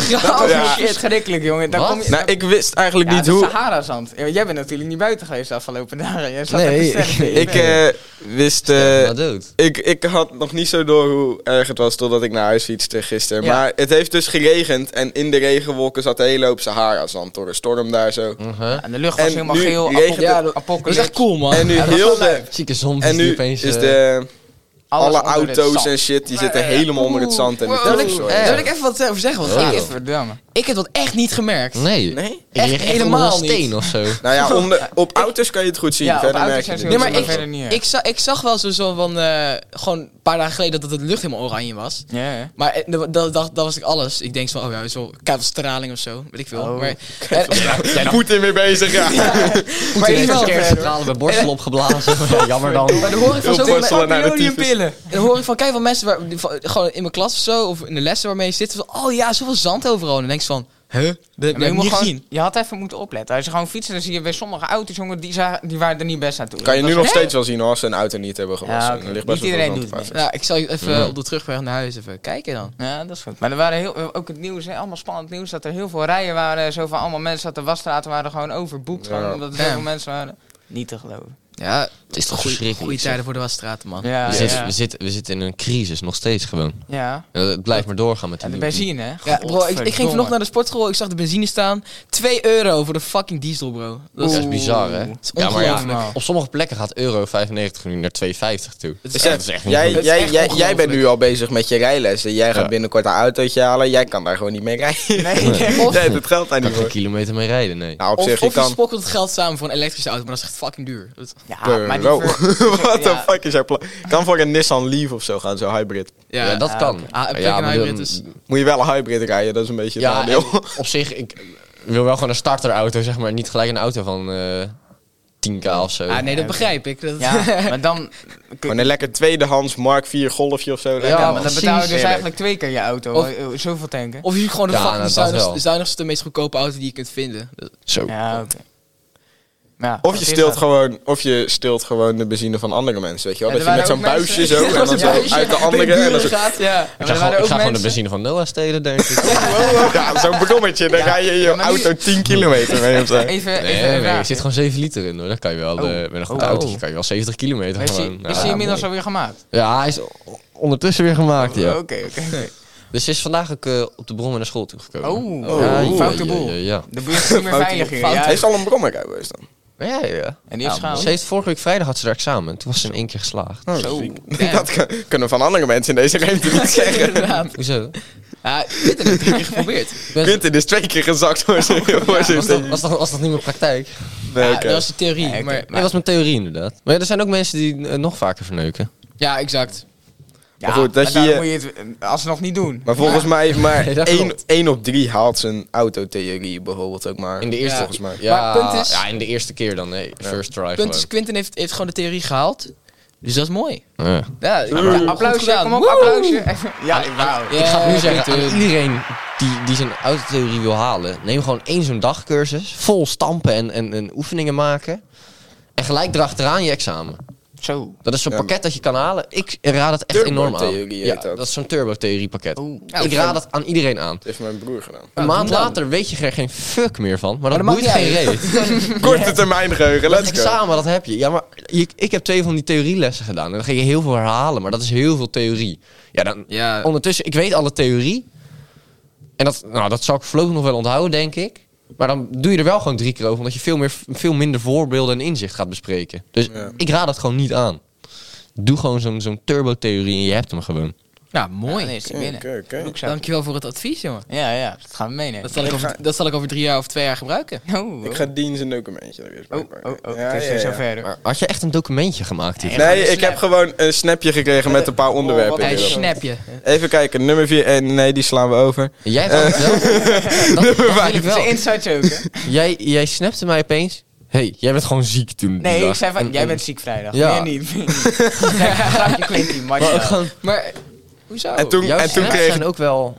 Ja, ja. Oh, shit. Verschrikkelijk, jongen. Daar Wat? kom je, Nou, ik wist eigenlijk ja, niet de hoe... Sahara-zand. Ja, Jij bent natuurlijk niet buiten geweest de afgelopen dagen. Jij zat Nee, even sterk in je Ik bed. eh, wist... eh, Ja, dood. ik, ik had nog niet zo door hoe erg het was totdat ik naar huis fietste gisteren. Ja. Maar het heeft dus geregend en in de regenwolken zat een hele hoop Sahara-zand door de storm daar zo. Mm. Uh-huh. En de lucht was en helemaal nu geel. regent apo- het- Ja, dat- Dat is apocalypse. echt cool, man. En nu Ja, dat was heel wel de... leuk. Zieke zombies En die nu opeens... is eh, de, Alles alle onder het auto's zand. en shit, die zitten helemaal onder het zand en de Oh, Daar wil, ik, drugs. daar wil ik even wat over zeggen. Want Oh. ik, Verdamme. Ik heb dat echt niet gemerkt. Nee. Nee? Ik Echt lig onder helemaal een steen niet. of zo. Nou ja, onder- op auto's kan je het goed zien. Ja, op verder auto's merk je zijn ze het Nee, niet. heel maar ik, verder niet, hè. ik, za- ik zag wel zo, zo van, eh, gewoon een paar dagen geleden dat het de lucht helemaal oranje was. Ja, ja. Maar eh, dat, dat, dat was ik alles. Ik denk zo, van, oh ja, zo straling of zo, weet ik veel. Oh. Maar, en, Poetin weer bezig, ja. maar in ieder geval, Kerstcentrale bij borstel opgeblazen. Jammer dan. maar dan hoor ik van Heel zoveel, Barcelona naar de Napoleonpillen. En dan hoor ik van, kijk, van mensen waar, die van- gewoon in mijn klas of zo, of in de lessen waarmee je zit, van, oh ja, zoveel zand overal. En dan denk je van, huh, dat heb Ja, ik maar je, helemaal moet niet gewoon- gezien. je had even moeten opletten. Als je gewoon fietsen, dan zie je bij sommige auto's, jongen, die, zagen, die waren er niet best aan toe. Kan je Dat nu was- nog steeds wel zien hoor, als ze een auto niet hebben gewassen. Ja, oké. Er ligt Niet best wel veel iedereen zand doet het op Ja, ik zal even eh, op de terugweg naar huis even kijken dan. Ja, dat is goed. Maar er waren heel, ook het nieuws, hè, allemaal spannend nieuws, dat er heel veel rijen waren. Zo van allemaal mensen dat de wasstraten waren gewoon overboekt. Ja. Gewoon, omdat er zoveel Ja. mensen waren. Niet te geloven. Ja, het is toch goede, verschrikkelijk, goede zeg. tijden voor de wasstraten, man. Ja, ja. We zitten, we, zitten, we zitten in een crisis, nog steeds gewoon. ja. En Het blijft maar doorgaan met die En de nieuwe- benzine, hè? Ja, bro, ik, ik ging vanochtend naar de sportschool, ik zag de benzine staan. 2 euro voor de fucking diesel, bro. Dat is, Dat is bizar, hè? Oeh. Ja, maar ja. Op sommige plekken gaat euro 95 nu naar 2,50 toe. dat is Besef, echt- echt Dus niet jij, goed. Dat is jij, echt jij, jij ongelooflijk. bent nu al bezig met je rijlessen. Jij gaat Ja. binnenkort een autootje halen. Jij kan daar gewoon niet mee rijden. Nee, nee. Nee, dat geldt daar Daar niet kan geen voor. kilometer mee rijden, nee. Nou, op Of, zich, je of je kan... spokkelt het geld samen voor een elektrische auto, maar dat is echt fucking duur. Dat- Ja, Ah, maar die Bro, ver- What the Ja. fuck is jouw plan? Kan voor een Nissan Leaf of zo gaan, zo hybrid. Ja, dat ah, kan. oké. Ah, een ja, plug-in maar dan- hybrid is... Moet je wel een hybrid rijden, dat is een beetje het ja, nadeel. en op zich, ik wil wel gewoon een starterauto, zeg maar. Niet gelijk een auto van eh 10k of zo. Ah, nee, dat begrijp ik. Dat... Ja, maar dan... Gewoon een lekker tweedehands Mark 4 golfje of zo. Ja, lekker, maar man. dan betaal je dus Heerlijk. eigenlijk twee keer je auto. Of- eh, Zoveel tanken. Of je ziet gewoon de Ja, fucking nou, dat zuinigste, wel. zuinigste, meest goedkope auto die je kunt vinden. Dat- Zo. Ja, oké. Ja, Of dat je, is steelt dat. gewoon, of je steelt gewoon de benzine van andere mensen, weet je wel? Ja, dat er je met waren zo'n ook buisje mensen- zo, Ja, en dan zo'n zo buisje. uit de andere... Bij En dan buren zo, gaat, ja. Ik maar ga, er gewoon, waren ik ook ga gewoon de mensen- benzine van Noah stelen, denk ik. ja, zo'n brommetje, dan ga je in je Ja, maar nu- auto 10 kilometer mee of zo. Even, even Nee, een nee, nee, vraag. er zit gewoon 7 liter in hoor. Dan kan je wel, eh Oh. met een goed Oh. autootje kan je wel 70 kilometer Is gewoon. die, Ja, is die inmiddels mooi. alweer gemaakt? Oh, Ja, hij is o- ondertussen weer gemaakt, ja. Oké, oké, oké. Dus ze is vandaag ook eh, op de bron weer naar school toegekomen. Oh, Ja, oh, ja, foute ja, boel. Ja, ja. De buurt is niet meer veilig hier. Hij Ja, is al een brommerrijbewijs dan. Maar ja, ja. en die heeft Ja, schaal. ze heeft vorige week vrijdag had ze haar examen. en Toen was ze in één keer geslaagd. Zo. Dat kan- kunnen van andere mensen in deze ruimte niet zeggen. Inderdaad. Hoezo? Ja, dit heb ik drie keer geprobeerd. Ben- Quinten is twee keer gezakt voor zijn... voor zijn was, dat, was, dat, was dat niet mijn praktijk? Nee, Ja, oké. dat was de theorie. Ja, oké. maar, Nee, dat was mijn theorie inderdaad. Maar ja, er zijn ook mensen die eh, nog vaker verneuken. ja, exact. Ja, Maar goed, dat maar je- dan moet je het eh, alsnog niet doen. Maar volgens mij, maar Nee, dat één, klopt. één op drie haalt zijn autotheorie bijvoorbeeld ook maar. In de eerste, Ja. volgens mij. Ja, Maar punt is- ja, in de eerste keer dan. Nee, first try Punt is, gewoon. Quinten heeft, heeft gewoon de theorie gehaald. Dus dat is mooi. Ja. Ja, ja, goed Applausje, gedaan. kom op, Woe! applausje. Ja, wauw. Ja, Ik ga het nu zeggen Quinten. aan iedereen die, die zijn autotheorie wil halen. Neem gewoon één zo'n dagcursus. Vol stampen en, en, en oefeningen maken. En gelijk erachteraan je examen. Zo. Dat is zo'n Ja, pakket dat je kan halen. Ik raad het echt enorm aan. Turbotheorie heet ja, dat. dat. is zo'n turbotheorie pakket. Oeh. ik raad het aan iedereen aan. Dat heeft mijn broer gedaan. Een Nou, doe maand dan. later weet je er geen fuck meer van. Maar dat, Maar dat boeit maakt geen niet uit. reet. Korte termijn geheugen, Dat let's go. examen, dat heb je. Ja, maar je- ik heb twee van die theorielessen gedaan. En dan ging je heel veel herhalen. Maar dat is heel veel theorie. Ja, dan, Ja. ondertussen, ik weet alle theorie. En dat, nou, dat zal ik voorlopig nog wel onthouden, denk ik. Maar dan doe je er wel gewoon drie keer over. Omdat je veel, meer, veel minder voorbeelden en inzicht gaat bespreken. Dus Ja. ik raad het gewoon niet aan. Doe gewoon zo'n zo'n turbo-theorie en je hebt hem gewoon. Nou, mooi. Ja, nee, is die Oké, binnen. oké, oké. Broekzak. Dankjewel voor het advies, jongen. Ja, ja, dat gaan we meenemen. Dat zal, ik over, dat zal ik over drie jaar of twee jaar gebruiken. Oh, Ik oh. ga Dien zijn documentje er eens bij Oh, oh, pakken. oh, Ja, het is weer ja, zo ja. verder. Maar had je echt een documentje gemaakt hier? Echt Nee, een ik heb snap. Oh, gewoon een snapje gekregen met een paar wat onderwerpen. een Hij erop. snap je. Even kijken, nummer 4. nee, die slaan we over. Jij hebt altijd wel. Dat, dat wil Het ik is een wel. inside joke, hè? Jij, jij snapte mij opeens. Hé, hey, jij bent gewoon ziek toen. die Nee, dag. ik zei van, En- jij en- bent ziek vrijdag. Ja. Meer niet. meer niet. Kijk, grapje Quinty, maar Maar ook gewoon, Maar, eh, hoezo? En toen, jouw en toen snaps kreeg zijn ook wel...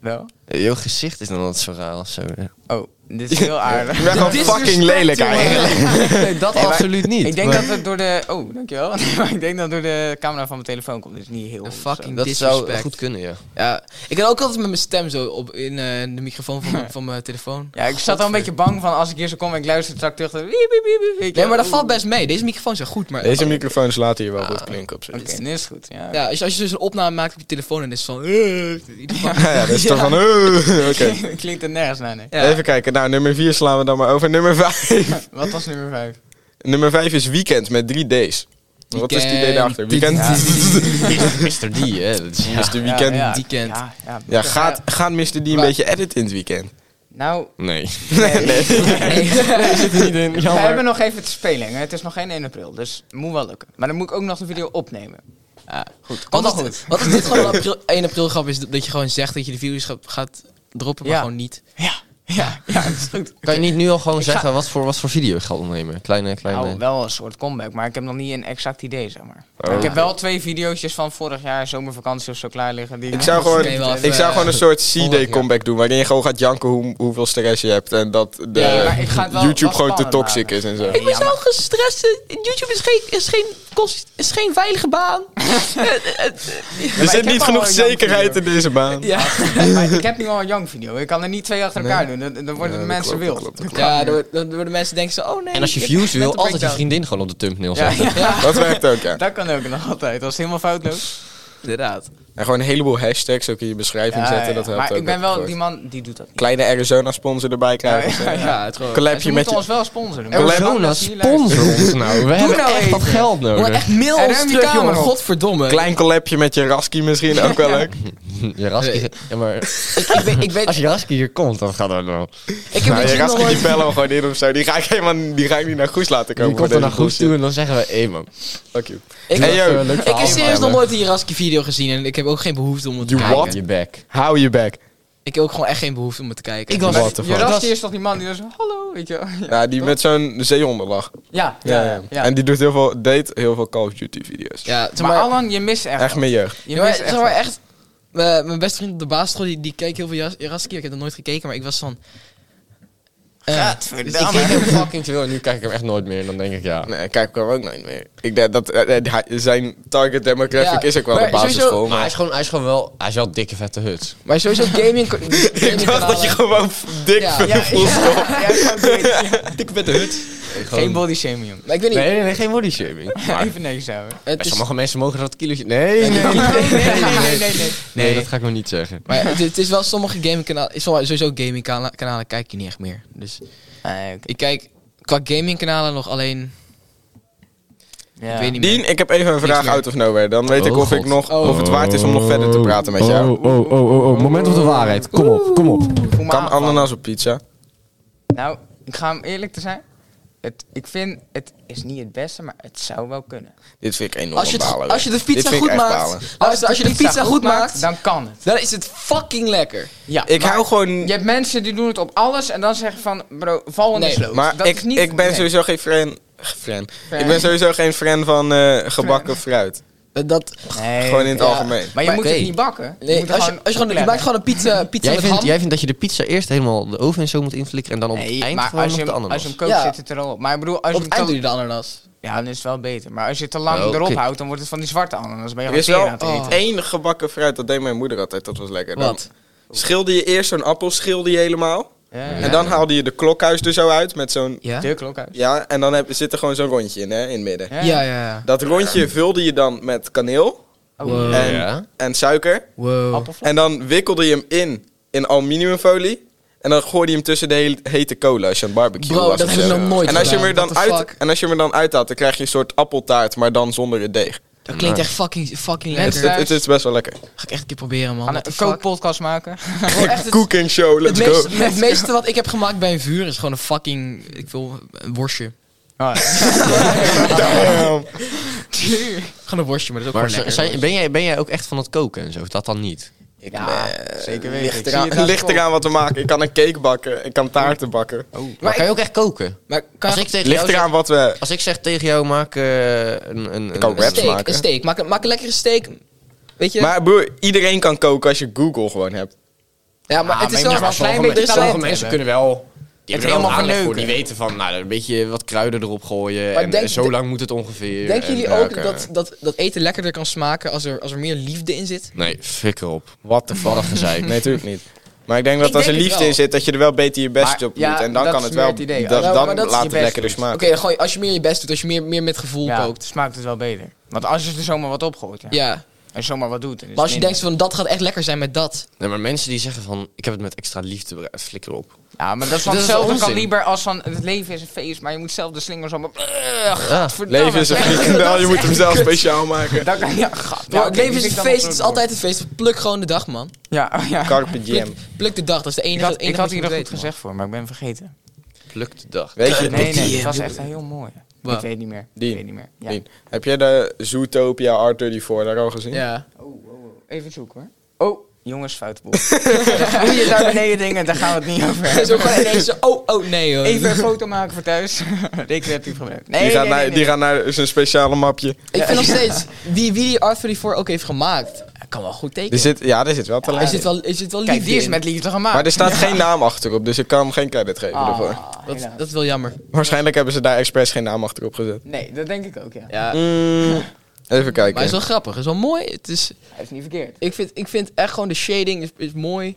Wel? Jouw Eh, gezicht is dan altijd zo raar of zo. Oh, dit is heel aardig. ik ben gewoon fucking lelijk eigenlijk. Nee, dat absoluut niet. Ik denk maar dat het door de... Oh, dankjewel. Maar ik denk dat het door de camera van mijn telefoon komt. Dus niet heel... Een fucking dat zou disrespect. goed kunnen, ja. Ja, ik had ook altijd met mijn stem zo op in eh, de microfoon van, mijn- van mijn telefoon. Ja, ik zat al een beetje bang van als ik hier zo kom en ik luister straks terug. dan wiep, wiep, wiep, wiep, weet je Nee, maar dat wel. valt best mee. Deze microfoon is goed, maar... Oh. Deze microfoons laten hier wel Ah, goed klinken op zich. Oké, nu is het goed. Ja. Ja, als je, als je dus een opname maakt op je telefoon en is van... eh, ieder van- Ja, ja, dat is toch van... eh, oké. Klinkt er nergens naar, nee. Ja. Even kijken, nou, nummer 4 slaan we dan maar over. Nummer 5. Wat was nummer 5? Nummer 5 is weekend met 3 D's. Wat is het idee daarachter? Weekend? Weekend. Mr. D, hè. Dat is- Mr. Weekend. Ja, ja, weekend. Ja, ja, Dus, eh, gaat, gaat Mr. D een Maar- beetje editen in het weekend? Nou, Nee. nee. Nee. we hebben nog even te spelen. hè. Het is nog geen 1 april, dus moet wel lukken. Maar dan moet ik ook nog de video opnemen. Ja, goed. Komt Wat wel goed. is, wat is dit gewoon een april, 1 april grap? Is dat je gewoon zegt dat je de virus gaat- gaat droppen, maar Ja. gewoon niet. Ja, ja, ja, dat is goed. Kan je niet nu al gewoon Ik ga- zeggen wat, voor, wat voor video ik ga opnemen? Kleine, kleine... Nou, wel een soort comeback, maar ik heb nog niet een exact idee, zeg maar. Ik heb wel twee video's van vorig jaar, zomervakantie of zo, klaar liggen. Die Ik zou Oké, gewoon, wel even, ik zou eh, gewoon een soort honderd, C-Day ja. comeback doen. Waarin je gewoon gaat janken hoe, hoeveel stress je hebt. En dat de Ja, maar ik ga het wel- YouTube wel gewoon te spannend toxic maken. is en zo. Ik was Ja, maar- gestrest. YouTube is geen, is, geen, is geen veilige baan. er ik zit heb niet al genoeg een jank zekerheid in deze baan. Ja. maar ik heb nu al een young video. Ik kan er niet twee achter elkaar doen. Dan, dan worden Ja, de dat klopt, mensen dat wild. klopt, dat Ja, dan wordt- dan worden mensen denken zo, oh nee. En als je ik- views net wil, een altijd je breakdown. vriendin gewoon op de thumbnail Ja, zetten. ja, Dat werkt ook, ja. dat kan ook nog altijd. Als het helemaal foutloos. Inderdaad. En gewoon een heleboel hashtags ook in je beschrijving Ja, zetten. ja. Dat helpt maar ook. ik ben wel dat die man die doet dat niet. Kleine Arizona-sponsor erbij krijgen. Ja, of ja, zo. ja. Ja, het gewoon. En Collabje ze met moeten je... ons wel sponsoren. Arizona, sponsor ons nou. We hebben nou echt wat even. geld Gewoon nodig. echt mail En ons ruim je terug, kamer jongen. op. Oh, Godverdomme. Klein collabje met je Raski misschien ook wel leuk. Ja, Raski- Nee. ja, maar Ik, ik, weet, ik, weet, als Jaraski hier komt, dan gaat dat wel. ik heb Nou, je legit nog Raski die nooit... bellen we gewoon in of zo. Die ga ik helemaal die ga ik niet naar Goes laten komen. Die komt voor er deze naar Goes bullshit. toe en dan zeggen we, hé man. Fuck you. Ik, Hey, yo. eh, leuk ik verhaal heb serieus nog hebben. nooit die Jaraski video gezien en ik heb ook geen behoefte om het te You kijken. what? Je bek. Hou je back. Ik heb ook gewoon echt geen behoefte om het te kijken. Ik was- What the fuck? Jurassic is toch die man die dan zo, hallo, weet je wel. Ja, Ja, die met zo'n zeehondenlach. ja, ja. ja, En die doet heel veel, deed heel veel Call of Duty video's. Ja, zeg maar, maar, Alan, je mist echt. Echt wat. mijn jeugd. Je Ja, maar, mist zeg echt. maar wat. echt, mijn- mijn beste vriend op de basisschool, die, die keek heel veel Jas- Jaraski. Ik heb dat nooit gekeken, maar ik was van... eh, dus ik keek heel fucking... Fucking veel. En nu kijk ik hem echt nooit meer. En dan denk ik, ja. Nee, kijk ik wel ook nooit meer. Ik denk dat eh, eh, hij- zijn target demographic Ja, is ook wel maar de basisschool. sowieso- Maar hij Maar is gewoon, hij is gewoon wel... Hij is wel dikke vette hut. Maar sowieso gaming... gaming ik dacht dat je gewoon f- dik Ja. ja, Ja, ja, ja, ik weet het. Dikke vette hut. Geen body shaming. jongen. Maar ik weet niet... Nee, nee, nee. Geen body shaming. Maar Even niks houden. het bij is, sommige mensen mogen dat kilootje... Nee, Nee, nee. nee, nee, nee, nee, nee. Nee, dat ga ik nog niet zeggen. maar het, het is wel sommige gamingkanalen... Sowieso gamingkanalen kanalen kijk je niet echt meer. Dus Nee, oké. ik kijk qua gamingkanalen nog alleen... Ja. Ik weet niet meer. Dien, ik heb even een vraag meer. out of nowhere. Dan weet ik Oh, of ik God. nog, Oh. of het waard is om nog verder te praten met jou. Oh, oh, oh, oh, oh. Moment of de waarheid. Kom op, kom op. Voel me Kan aangevallen. ananas op pizza? Nou, ik ga hem eerlijk te zijn. Het, ik vind, het is niet het beste, maar het zou wel kunnen. Dit vind ik enorm Als je, het- balen. als je de Dit pizza vind ik goed echt maakt... balen. Luister, als je de pizza goed maakt... dan kan het. Dan is het fucking lekker. Ja, Ik maar hou gewoon... Je hebt mensen die doen het op alles en dan zeggen van, bro, val in Nee, de sloot. Maar Dat ik, is niet- ik ben nee. sowieso geen fan... fan. Fan. Ik ben sowieso geen fan van eh, gebakken fruit. Dat, dat, Nee. Gewoon in het Ja. algemeen. Maar je Maar moet nee. het niet bakken. nee, moet als je, als je, gewoon, je maakt gewoon een pizza, pizza Jij met vindt, ham. jij vindt dat je de pizza eerst helemaal de oven en zo moet inflikkeren... en dan op het Nee, eind maar gewoon als nog je, de hem, ananas? als je hem kookt, Ja. zit het er al op. Maar ik bedoel, als Op je het hem eind doe te, je de ananas. Ja, dan is het wel beter. Maar als je het te lang Oh, erop kijk. houdt, dan wordt het van die zwarte ananas. Ben je Er is gewoon wel Oh. tering aan het eten. één gebakken fruit, dat deed mijn moeder altijd, dat was lekker. Dan Wat? Schilde je eerst zo'n appel, schilde je helemaal. Ja, En dan haalde je de klokhuis er zo uit met zo'n... Ja? De klok uit. Ja, en dan heb, zit er gewoon zo'n rondje in, hè, in het midden. Ja. Ja, ja, ja. Dat rondje vulde je dan met kaneel Oh, Wow. en, Ja. en suiker. Wow. Appelvla- En dan wikkelde je hem in, in aluminiumfolie. En dan gooide je hem tussen de hele hete cola als je aan het barbecue Bro, was. dat of heb ik zo. nog nooit en als je hem gedaan. er dan What the uit fuck? En als je hem er dan uithaalt, dan krijg je een soort appeltaart, maar dan zonder het deeg. Dat klinkt echt fucking, fucking Net Het, lekker. zo- het, het is best wel lekker. Ga ik echt een keer proberen, man. Gaan What the we een fuck? kookpodcast maken. Gewoon echt het, Cooking show, het, let's go. meeste, het meeste wat ik heb gemaakt bij een vuur is gewoon een fucking, ik wil een worstje. Oh, ja. Damn. Gewoon een worstje, maar dat is ook gewoon Maar lekker. zijn- ben, jij, ben jij ook echt van het koken en zo? Of dat dan niet? Ja, eh, zeker weten. Ik Ligt zie het eraan, aan de ligt kop. eraan wat we maken. Ik kan een cake bakken, ik kan taarten bakken. Oh. Maar, kan je ook echt koken? maar kan Als je ik, tegen jou Ligt zeg, eraan wat we... als ik zeg tegen jou, maak eh, een, een, kan een- een wraps steak, maken? een steak. Maak, een- maak een lekkere steak. Weet je? Maar broer, iedereen kan koken als je Google gewoon hebt. ja, maar Ah, het is maar wel ja, een maar klein sommige beetje mensen- sommige talent. mensen kunnen wel... Die Het hebben er wel helemaal een aanleg voor. verneuken. Die weten van, nou, een beetje wat kruiden erop gooien. Maar en denk- eh, zo de- lang moet het ongeveer. Denken en- jullie ja, ook oké. dat, dat, dat eten lekkerder kan smaken als er, als er meer liefde in zit? Nee, fik erop. Wat de Wat een gezeik. Nee, natuurlijk niet. Maar ik denk dat Ik als er denk het liefde wel. in zit, dat je er wel beter je best Maar op moet. ja, en dan dat kan is het meer wel. het idee. dat, Ja, dan maar dat is laat je het best lekkerder doen. smaken. Oké, dan gewoon als je meer je best doet, als je meer, meer met gevoel Ja, dus kookt. smaakt het wel beter. Want als je er zomaar wat opgooit, ja. Ja. en zomaar wat doet. Maar als je denkt van dat gaat echt lekker zijn met dat. Nee, maar mensen die zeggen van, ik heb het met extra liefde bereid, flikker op. Ja, maar dat is van Dat is hetzelfde onzin. kaliber als van het leven is een feest, maar je moet zelf de slingers allemaal... Eh, Ja. Leven Oh, is een frikandel, nou, je moet hem zelf speciaal maken. Dat kan, ja, gat. Bro, het leven Nou, is een feest, het is altijd een feest. Pluk gewoon de dag, man. Ja, oh ja. Carpe Pluk, diem. pluk de dag, dat is de Ik enige. had, het enige ik wat had je hier moet een goed weten, man. gezeg voor, maar ik ben vergeten. Lukt de dag. Weet je, Nee, nee, die- het was echt een heel mooi. Wat? Ik weet niet meer. Die. Ik weet niet meer. Ja. Dien, heb jij de Zootopia R34 daar al gezien? Ja. Oh, oh, oh. Even zoeken hoor. Oh, jongens, foute boel. Doe je daar beneden dingen, daar gaan we het niet over hebben. Zo gewoon ineens zo, oh, oh, nee hoor. Even een foto maken voor thuis. Recreatief gebruik. Nee, die, gaat nee, naar, nee, die nee. gaat naar zijn speciale mapje. Ik vind nog steeds, wie, wie die R34 ook heeft gemaakt, hij kan wel goed Dus tekenen. Er zit, ja, er zit wel talent Hij in. zit wel, hij zit wel Kijk, liefde die is in. met liefde gemaakt. Maar er staat geen naam achterop, dus ik kan hem geen credit geven Ah, ervoor. Dat, helaas. dat is wel jammer. Waarschijnlijk hebben ze daar expres geen naam achterop gezet. Nee, dat denk ik ook, ja. Ja. Mm, even Maar hij kijken. is wel grappig, hij is wel mooi. Het is, Hij is niet verkeerd. ik, vind, ik vind echt gewoon de shading is, is mooi.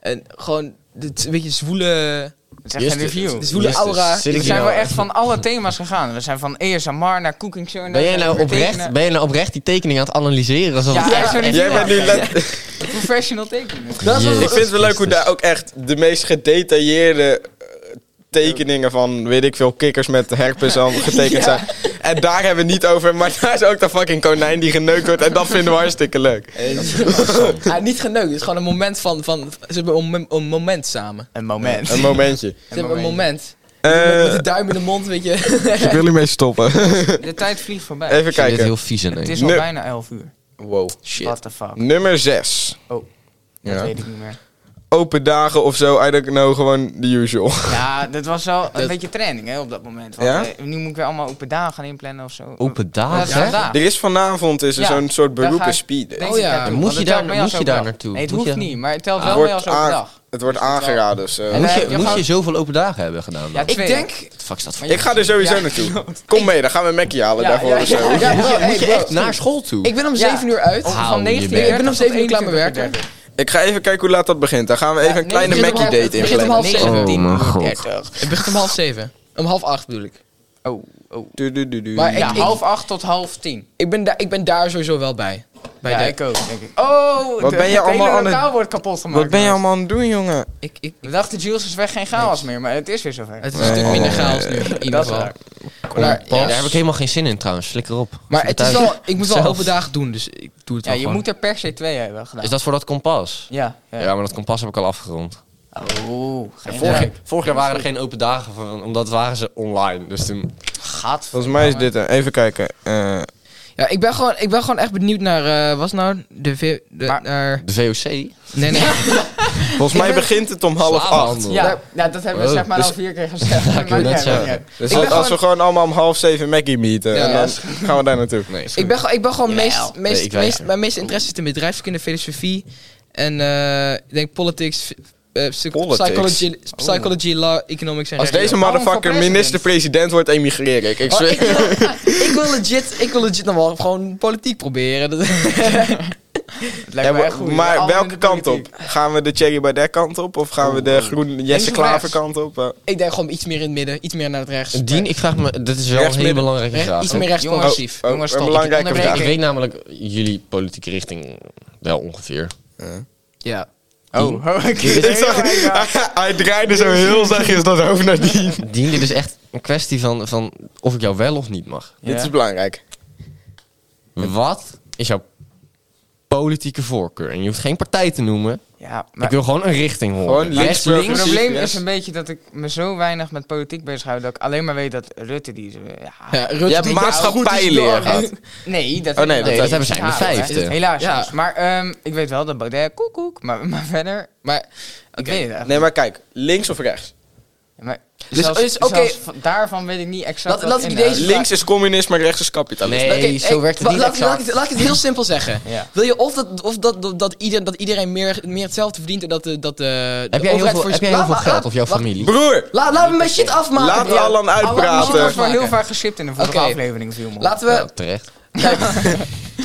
En gewoon, het is een beetje zwoele, Het is echt een review. de zwoele Justus, aura. zit We ik zijn hier wel nou- echt van alle thema's gegaan. We zijn van ASMR naar cooking show. naar- Ben jij nou naar oprecht, tekenen. ben jij nou oprecht die tekening aan het analyseren? Alsof Ja, het- echt zo'n Jij review bent nu afgeven. let- Professional tekenen. Dat is wel- Jezus. Ik vind het wel leuk hoe Christus. daar ook echt de meest gedetailleerde eh, tekeningen van, weet ik veel, kikkers met herpes al getekend zijn. En daar hebben we het niet over, maar daar is ook dat fucking konijn die geneukt wordt. En dat vinden we harstikke leuk. Ah, niet geneukt, het is gewoon een moment van, van ze hebben een, mom- een moment samen. Een moment. Een momentje. Ze hebben een moment. Eh, met de duim in de mond, weet je. ik wil hiermee stoppen. De tijd vliegt voorbij. Even Ik vind dit kijken. heel vies in Het één. is al Nee. bijna 11 uur. Wow. What the fuck? Nummer 6. Oh. Dat Ja. weet ik niet meer. Open dagen of zo, I don't know, gewoon the usual. Ja, dat was wel een Dat- beetje training hè, op dat moment. Want, Ja? eh, nu moet ik weer allemaal open dagen gaan inplannen of zo. Open Dat is dagen? vandaag. Er is vanavond is er Ja, zo'n soort daar ga beroepen ik- speed. Denk Oh ik ja. naartoe, Moet want je het daar- telt mee moet als je open daar dag. naartoe? Nee, het Moet hoeft je- niet, maar het telt Het wel mee als Dus wordt, open aan- dag. het wordt aangeraden of zo. En Moet dan je, heb je moet gewoon- je zoveel open dagen hebben gedaan? Ja, dan? Ik twee. denk... What the fuck staat voor? Ik ga er sowieso naartoe. Kom mee, dan gaan we Mackie halen daarvoor ja, of zo. ja, Ja, bro, hey, Moet je bro. echt naar school toe? Ik ben om Ja. 7 uur uit. Of Hou van je 19 bent. uur Ik ben om tot 7 uur klaar met 21 uur werken. 30. Ik ga even kijken hoe laat dat begint. Dan gaan we even een nee, kleine het begint om Mackie half- date het begint om inplannen. half zeven. Oh, mijn 19 uur God. 30. Het begint om half 7. Om half 8 bedoel ik. Oh, oh. Du- du- du- du. Maar Ja, ik, half acht tot half tien. ik, ben daar- ik ben daar sowieso wel bij. bij Ja, de- ik ook, denk ik. Oh, Wat de- ben je het allemaal hele aan het- lokaal wordt kapot gemaakt. Wat ben je allemaal aan het doen, jongen? ik, ik, We dachten, Jules is weg, geen chaos meer, maar het is weer zover. het is een stuk minder chaos nu. In ieder dat is geval. waar. Maar, Ja, ja, daar heb ik helemaal geen zin in trouwens. Flikker op. maar Ik het ben is thuis. wel, ik moet wel Zelf. open dagen doen, dus ik doe het Ja, wel je gewoon. moet er per se twee hebben gedaan. Is dat voor dat kompas? Ja. ja. Ja, maar dat kompas heb ik al afgerond. Oh, geen Vorig, idee. vorig jaar waren er geen open dagen, van, omdat waren ze online. Dus toen... Gaat. Volgens mij is dit hem. Even kijken. Eh, Ja, ik ben gewoon, ik ben gewoon echt benieuwd naar, eh was nou de, ve- de Maar- naar, De VOC? nee nee. volgens mij begint het om half acht. Slavenhandel. Ja, ja, Nou, dat hebben we Oh, zeg maar dus- al vier keer gezegd. Maar wou net ja, zeggen. ja. Dus Ik als, ben als we gewoon allemaal om half zeven Mackie meeten, Ja. en dan gaan we daar naartoe. Nee, is ik ben, gewoon- ik ben gewoon meest, Jawel. meest, Nee, meest, ik weiger. mijn meeste interesse zit in bedrijfskunde, filosofie en eh, ik denk politics, eh, psych- Politics? Oh. psychology, psychology, law, economics en Als rechten. deze Waarom motherfucker voor president? minister-president wordt, emigreer ik. Ik Oh, zweer. ik, wil, ik, wil legit, ik wil legit nog wel gewoon politiek proberen. Dat- Het lijkt Ja, me maar- echt goed. maar Allemaal in welke de kant op? politiek. Gaan we de Thierry Baudet kant op? Of gaan we de groene Jesse of Klaver rechts? kant op? Oh, Eh, ik denk gewoon iets meer in het midden, iets meer naar het rechts. Dien, ik vraag me... Dit is wel een hele Rechtsmidden. belangrijke Recht- vraag. iets meer Jongens, rechtsconservatief. oh, jongens, een stop. belangrijke Ik vraag. Ik onderbreek weet namelijk jullie politieke richting wel ongeveer. Ja. Oh, oh, ik Ik zag, hij draaide zo heel zachtjes dat hoofd naar die. Dien, dit is echt een kwestie van, van of ik jou wel of niet mag. Dit is belangrijk. Hm. Wat is jouw politieke voorkeur? En je hoeft geen partij te noemen. Ja, maar ik wil gewoon een richting horen. Gewoon links, Rechts, links. het progressief, probleem yes. is een beetje dat ik me zo weinig met politiek bezighoud dat ik alleen maar weet dat Rutte die... zo- Ja, ja Rutte Je hebt die- maatschappijleer gehad. nee, dat, Oh, nee, dat- Nee, dat hebben zij in de Ja, hoor, hè. vijfde. Helaas, Ja. jongens. Maar ehm, ik weet wel dat Baudet koek koek, maar, maar verder... Maar Ik weet het echt Nee, maar kijk, links of rechts? Ja, Maar Dus- zelfs, dus, oké. zelfs van- daarvan weet ik niet exact Laat- wat laat ik inhoudt. deze- Links is communisme, rechts is kapitalisme. Nee, Oké, zo eh, werkt het wa- niet Laat, ik- laat, ik het- exact. laat ik het heel simpel zeggen. Ja. Wil je of dat, of dat, dat, dat ieder, dat iedereen meer, meer hetzelfde verdient en dat de, dat de, de Heb jij heel overheid veel, voor- heb jij heel Laat- veel laat- geld of jouw laat- familie? Broer, Laat, laten we mijn shit afmaken. laat bro. Alan Alan, Dat was uitpraten. Alan, wel heel maken. vaak geschipt in de vorige Oké. aflevering, viel me op. Laten Ja, we... terecht. Kijk,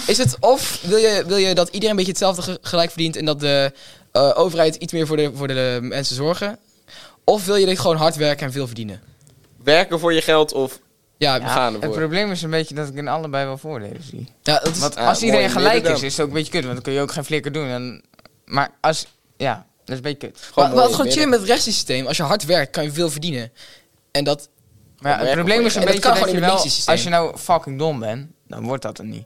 is het of wil je, wil je dat iedereen een beetje hetzelfde ge- gelijk verdient en dat de eh, overheid iets meer voor de, voor de mensen zorgen? Of wil je dit gewoon hard werken en veel verdienen? Werken voor je geld of Ja, Ja, we gaan- het ervoor. probleem is een beetje dat ik in allebei wel voordelen zie. Ah, ja, dat is- Want Ja, als mooi, iedereen gelijk is, middenkamp. is het ook een beetje kut. Want dan kun je ook geen flikker doen. En, maar als... Ja, dat is een beetje kut. Gewoon maar, maar het mooi is gewoon binnen. chillen met het rechtssysteem. Als je hard werkt, kan je veel verdienen. En dat, Maar ja, Maar het ja, probleem is een en dat kan beetje dat, gewoon in je het wel... linkssysteem. Als je nou fucking dom bent, dan wordt dat er niet. Of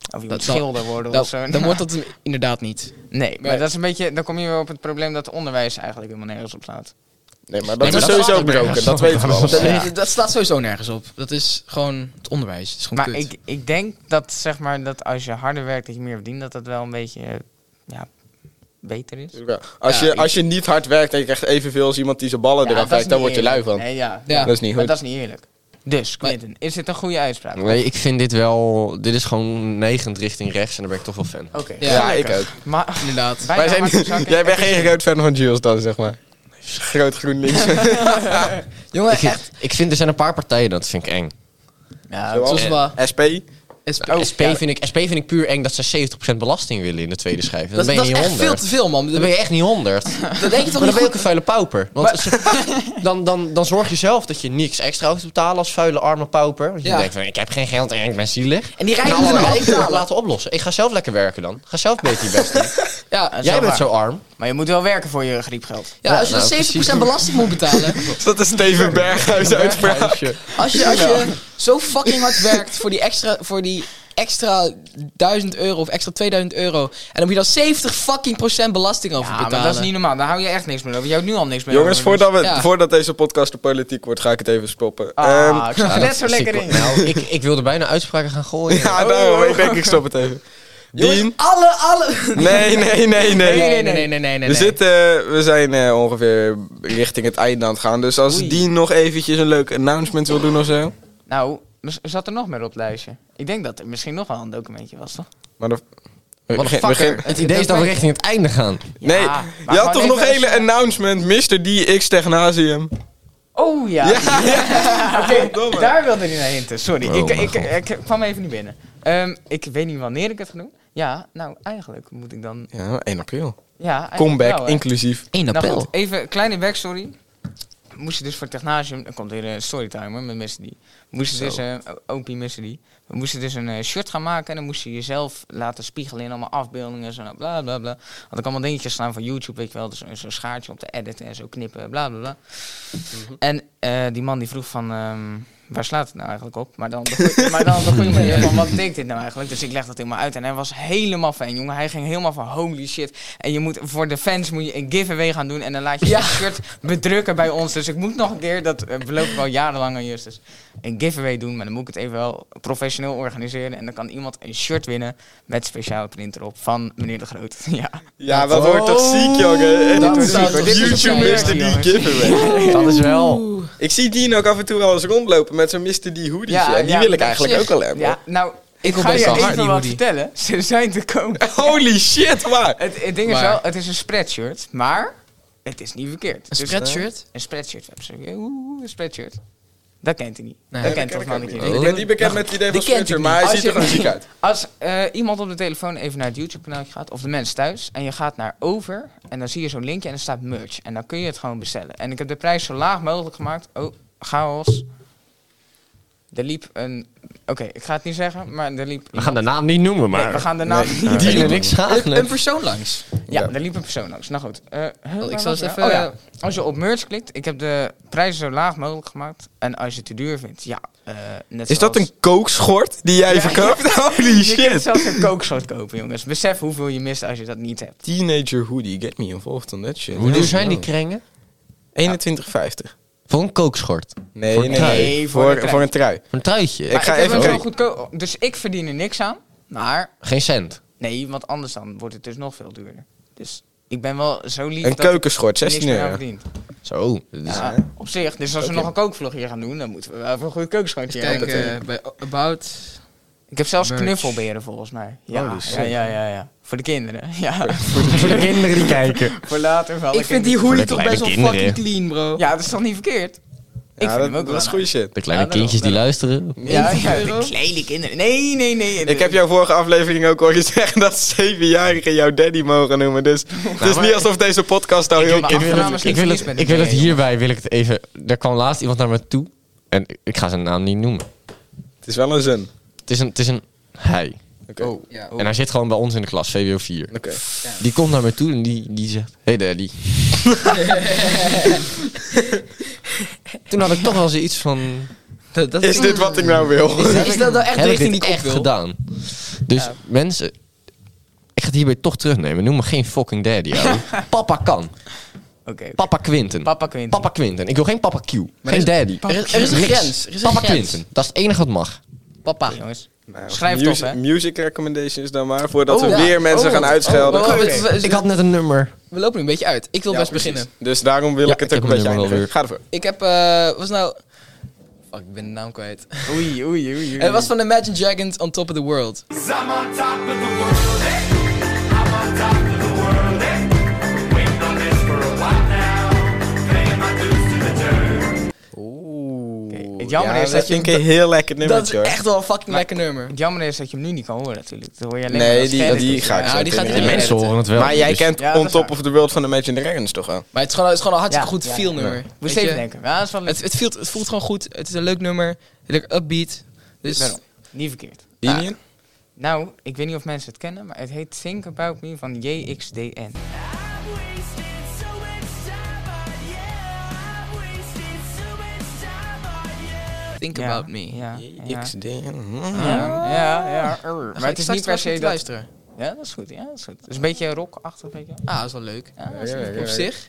je Dat- moet dat- schilder worden of dat, zo. dan wordt dat inderdaad niet. Nee, maar Nee. dat is een beetje... Dan kom je weer op het probleem dat het onderwijs eigenlijk helemaal nergens op slaat. Nee, maar dat Nee, maar is dat sowieso staat er broken. Dat weten we Dat, al. Ja. dat staat sowieso nergens op. Dat is gewoon het onderwijs. Het is gewoon Maar kut. ik, ik denk dat, zeg maar, dat als je harder werkt, dat je meer verdient. Dat dat wel een beetje, eh, ja, beter is. Ja. Als, Ja, je, ik- als je niet hard werkt en je krijgt evenveel als iemand die zijn ballen Ja, dat eraf is werkt, dan niet word je lui eerlijk. van. Nee, ja. Ja. Dat is niet Maar goed. dat is niet eerlijk. Dus, Quinten, is dit een goede uitspraak? Oké. Nee, ik vind dit wel... Dit is gewoon negend richting rechts en daar ben ik toch wel fan. Ja, Ja, ik gelukkig. ook. Maar, Inderdaad. bijna Wij zijn, hard zakken. jij bent geen groot fan van Jules dan, zeg maar. Groot groen links. Jongen, Ik echt. vind, ik vind, er zijn een paar partijen, dat vind ik eng. Ja, Zoals- Zoals wat. SP. SP. SP, vind ik, SP vind ik puur eng dat ze 70% belasting willen in de tweede schijf. Dan Dat, ben je dat is niet echt veel 100. te veel, man. Dan Dat, ben je echt niet 100. dat denk je toch Maar niet dan ben je goed? ook een vuile pauper. Want ze- dan, dan, dan zorg je zelf dat je niks extra hoeft te betalen als vuile arme pauper. Want je Ja. denkt van, ik heb geen geld en ik ben zielig. En die En rijden allemaal moeten ik wil het afbetalen. laten oplossen. Ik ga zelf lekker werken dan. Ga zelf beter je best doen. Ja, Jij bent waar. zo arm. maar je moet wel werken voor je griepgeld. ja, als je nou, dan 70% precies. belasting moet betalen. Is dat een Steven Berghuis uitspraak? Als je, als je zo fucking hard werkt voor die extra... Voor die extra 1000 euro of extra 2000 euro. En dan moet je dan 70 fucking procent belasting over Ja, betalen. maar dat is niet normaal. Daar hou je echt niks meer over. Je houdt nu al niks meer Jongens, over. Dus- voordat, we, Ja. voordat deze podcast de politiek wordt, ga ik het even stoppen. Ehm, Ah, ik zag er net zo lekker in. Nou, ik, ik wilde bijna uitspraken gaan gooien. ja, Oh, daarom. oh, Ik denk, ik stop het even. Dien? Alle, alle... Nee, nee, nee, nee. nee, nee, nee, nee, nee. We, zitten, we zijn eh, ongeveer richting het einde aan het gaan. Dus als Dien nog eventjes een leuk announcement wil doen of zo. Nou, mis- zat er nog meer op het lijstje? Ik denk dat er misschien nog wel een documentje was, toch? Maar dan- we Wat begin- fucker. begin- Het idee is dat we richting het einde gaan. Nee, Ja, maar je had gewoon toch even nog hele een- announcement, Mr. DX Technasium. Oh ja. Oké, daar wilde hij naar hinten. Sorry, Oh, ik, mijn ik, God. ik, kwam even niet binnen. Ehm, ik weet niet wanneer ik het ga doen. Ja, nou eigenlijk moet ik dan... Ja, 1 april. Ja, eigenlijk Comeback wel, hè. inclusief. 1 Nou april. goed, even een kleine backstory. Moest je dus voor Technasium, dan komt weer een storytimer met Mr. D. Moest je dus, eh OP Mr. D. We moesten dus een eh, shirt gaan maken en dan moest je jezelf laten spiegelen in allemaal afbeeldingen. Zo, bla bla bla. Had ik allemaal dingetjes staan van YouTube, weet je wel. Dus een- zo'n schaartje op de edit en zo knippen, bla bla bla. En eh, die man die vroeg van, ehm, waar slaat het nou eigenlijk op? Maar dan, de goeie- maar dan op de goede manier van, wat betekent dit nou eigenlijk? Dus ik leg dat helemaal uit en hij was helemaal fan, jongen. Hij ging helemaal van, holy shit. En je moet, voor de fans moet je een giveaway gaan doen en dan laat je Ja. je shirt bedrukken bij ons. Dus ik moet nog een keer, dat eh, beloof ik al jarenlang aan Justus, een giveaway doen. Maar dan moet ik het even wel professioneel organiseren. En dan kan iemand een shirt winnen met speciale print erop van meneer De Groot. ja. Ja, dat wordt toch ziek, jongen. En dat dit is zou ziek, hoor. toch ziek YouTube zijn, Mr. D jongens. giveaway. Dat is wel... Ik zie Dien ook af en toe wel eens rondlopen met zo'n Mr. D hoodie. Ja, en die ja, wil ik op eigenlijk zich. ook al hebben. Ja, nou, ik Eh, wil ga best je wel even hard die wat hoodie. vertellen. Ze zijn te komen. Holy shit, waar? Het, het ding is Maar- wel, het is een spreadshirt, maar het is niet verkeerd. Een Dus- spreadshirt? Een spreadshirt. hebben ze. Oeh, een spreadshirt. Dat kent hij niet. Nee. dat Nee, kent dat toch ken man ik niet. niet. Ik ben niet bekend met het idee van die kent Spencer, ik maar hij Als ziet je- er gewoon ziek uit. Als eh, iemand op de telefoon even naar het YouTube-kanaal gaat, of de mensen thuis, en je gaat naar over, en dan zie je zo'n linkje en er staat merch. En dan kun je het gewoon bestellen. En ik heb de prijs zo laag mogelijk gemaakt. Oh, chaos. Er liep een... Oké, ik ga het niet zeggen, maar er liep... We gaan de naam niet noemen, Nee, maar... we gaan de naam niet die er niks aan. Een persoon langs. Ja, Ja. daar liep een persoon langs. Nou goed. eh, huh, waar zal was eens nou? even- Oh eh, ja, Als je op merch klikt, ik heb de prijzen zo laag mogelijk gemaakt. En als je het te duur vindt, ja. eh, net Is dat zoals- een kookschort die jij Ja, verkoopt? Holy Je kunt shit. zelfs een kookschot kopen, jongens. Besef hoeveel je mist als je dat niet hebt. Teenager hoodie, get me involved on that shit. Oh. Hoe duur zijn die krengen? 21,50. Voor een kookschort. Nee, Voor nee, een nee. trui. Nee, voor een voor, trui. voor een trui. Voor een truitje. Ik Maar ga heb even hem zo kijken. goedkoop. Dus ik verdien er niks aan. Maar Geen cent. nee, want anders dan wordt het dus nog veel duurder. Dus ik ben wel zo lief Een dat ik keukenschort, niks 16 meer aan euro. verdient. Zo. dat is- Ja, op zich. Dus als we nog een kookvlog hier gaan doen, dan moeten we wel even een goed kookschotje hebben. Kijk, eh, bij About... Ik heb zelfs Merch. knuffelberen volgens mij. Ja, Holy shit. ja, ja, ja, ja. Voor de kinderen. Ja, Voor de kinderen die kijken. voor later wel. Ik vind die hoodie toch kleine best wel kinderen. fucking clean, bro. Ja, dat is toch niet verkeerd? ik Ja, vind dat, hem ook dat wel. is goede shit. De kleine Ja, dat- kindjes die dat- luisteren. Ja, ja, euro? de kleine kinderen. Nee, nee, nee. Ik heb jouw vorige aflevering ook horen zeggen dat zevenjarigen jouw daddy mogen noemen. Dus het is maar- niet alsof deze podcast nou Nou, Ik- heel... ik- kut- Achternaam is ik wil niet het, vies met ik een wil J, het, ik wil het jongen. hierbij wil ik het even. Er kwam laatst iemand naar me toe. En ik- ik ga zijn naam niet noemen. Het is wel een zin. Het is een, het is een hij. Oké. Ja. En hij zit gewoon bij ons in de klas, VWO 4. Oké. Die komt naar me toe en die, die zegt... Hey daddy. Toen had ik toch wel zoiets van... Dat, dat Is dit wat ik nou wil? Is- is dat nou echt de heb ik richting dit die ik op echt wil? gedaan? Dus Ja. mensen... Ik ga het hierbij toch terugnemen. Noem me geen fucking daddy, ouwe. Papa kan. Oké. oké. Papa Quinten. Papa Quinten. Papa Quinten. Ik wil geen Papa Q. geen daddy. er is- er is een Niks. grens. Er is een Papa grens. Quinten. Dat is het enige wat mag. Papa. Oké, jongens. Nou, Schrijf het op, music, hè. music recommendations dan maar, voordat Oh, we ja. weer mensen Oh, gaan uitschelden. oh, oh, Oké. dit is- Ik had net een nummer. We lopen nu een beetje uit. Ik wil Ja, best precies. beginnen. Dus daarom wil Ja, ik het ik ook een heb beetje hem nu wel eindigen. weer. Ga ervoor. Ik heb, eh, wat was nou... Fuck, ik ben de naam kwijt. Oei, oei, oei. Het was van Imagine Dragons On Top of the World. I'm on top of the world, eh? I'm on top of the world, eh? Waiting on this for a while now. Paying my dues to the dirt. Oeh. het jammer ja, is dat je- vind ik een heel lekker Dat is nummertje hoor. echt wel een fucking lekker nummer. Het jammer is dat je hem nu niet kan horen natuurlijk. Dat hoor je alleen maar Nee, als die, scherm. die ga ik Ja, zo die gaat meteen iedereen doen. Mensen horen het wel. Maar jij kent Ja, dat On is Top waar. of the World van Imagine Dragons toch wel? Maar het is gewoon, het is gewoon een hartstikke Ja, goed ja, feel ja. nummer. Moest Weet even je, denken. Ja, dat is wel Het, leuk. het, voelt, het voelt gewoon goed. Het is een leuk nummer. Lekker upbeat. Dus Daarom. Niet verkeerd. Union? Nou, ik weet niet of mensen het kennen, maar het heet Think About Me van JXDN. I've wasted so much time on you. I've wasted so much time on you. Think Ja, About Me. Ja, ja. XD. Ja, ja, ja. err. Dan ga Maar ik Oh. het is straks niet per straks se even dat... luisteren. Ja, dat is goed. Ja, dat is goed. Het is een beetje rockachtig, weet je wel. Ah, dat is wel leuk. Ja, dat is ja, leuk. ja. Op zich.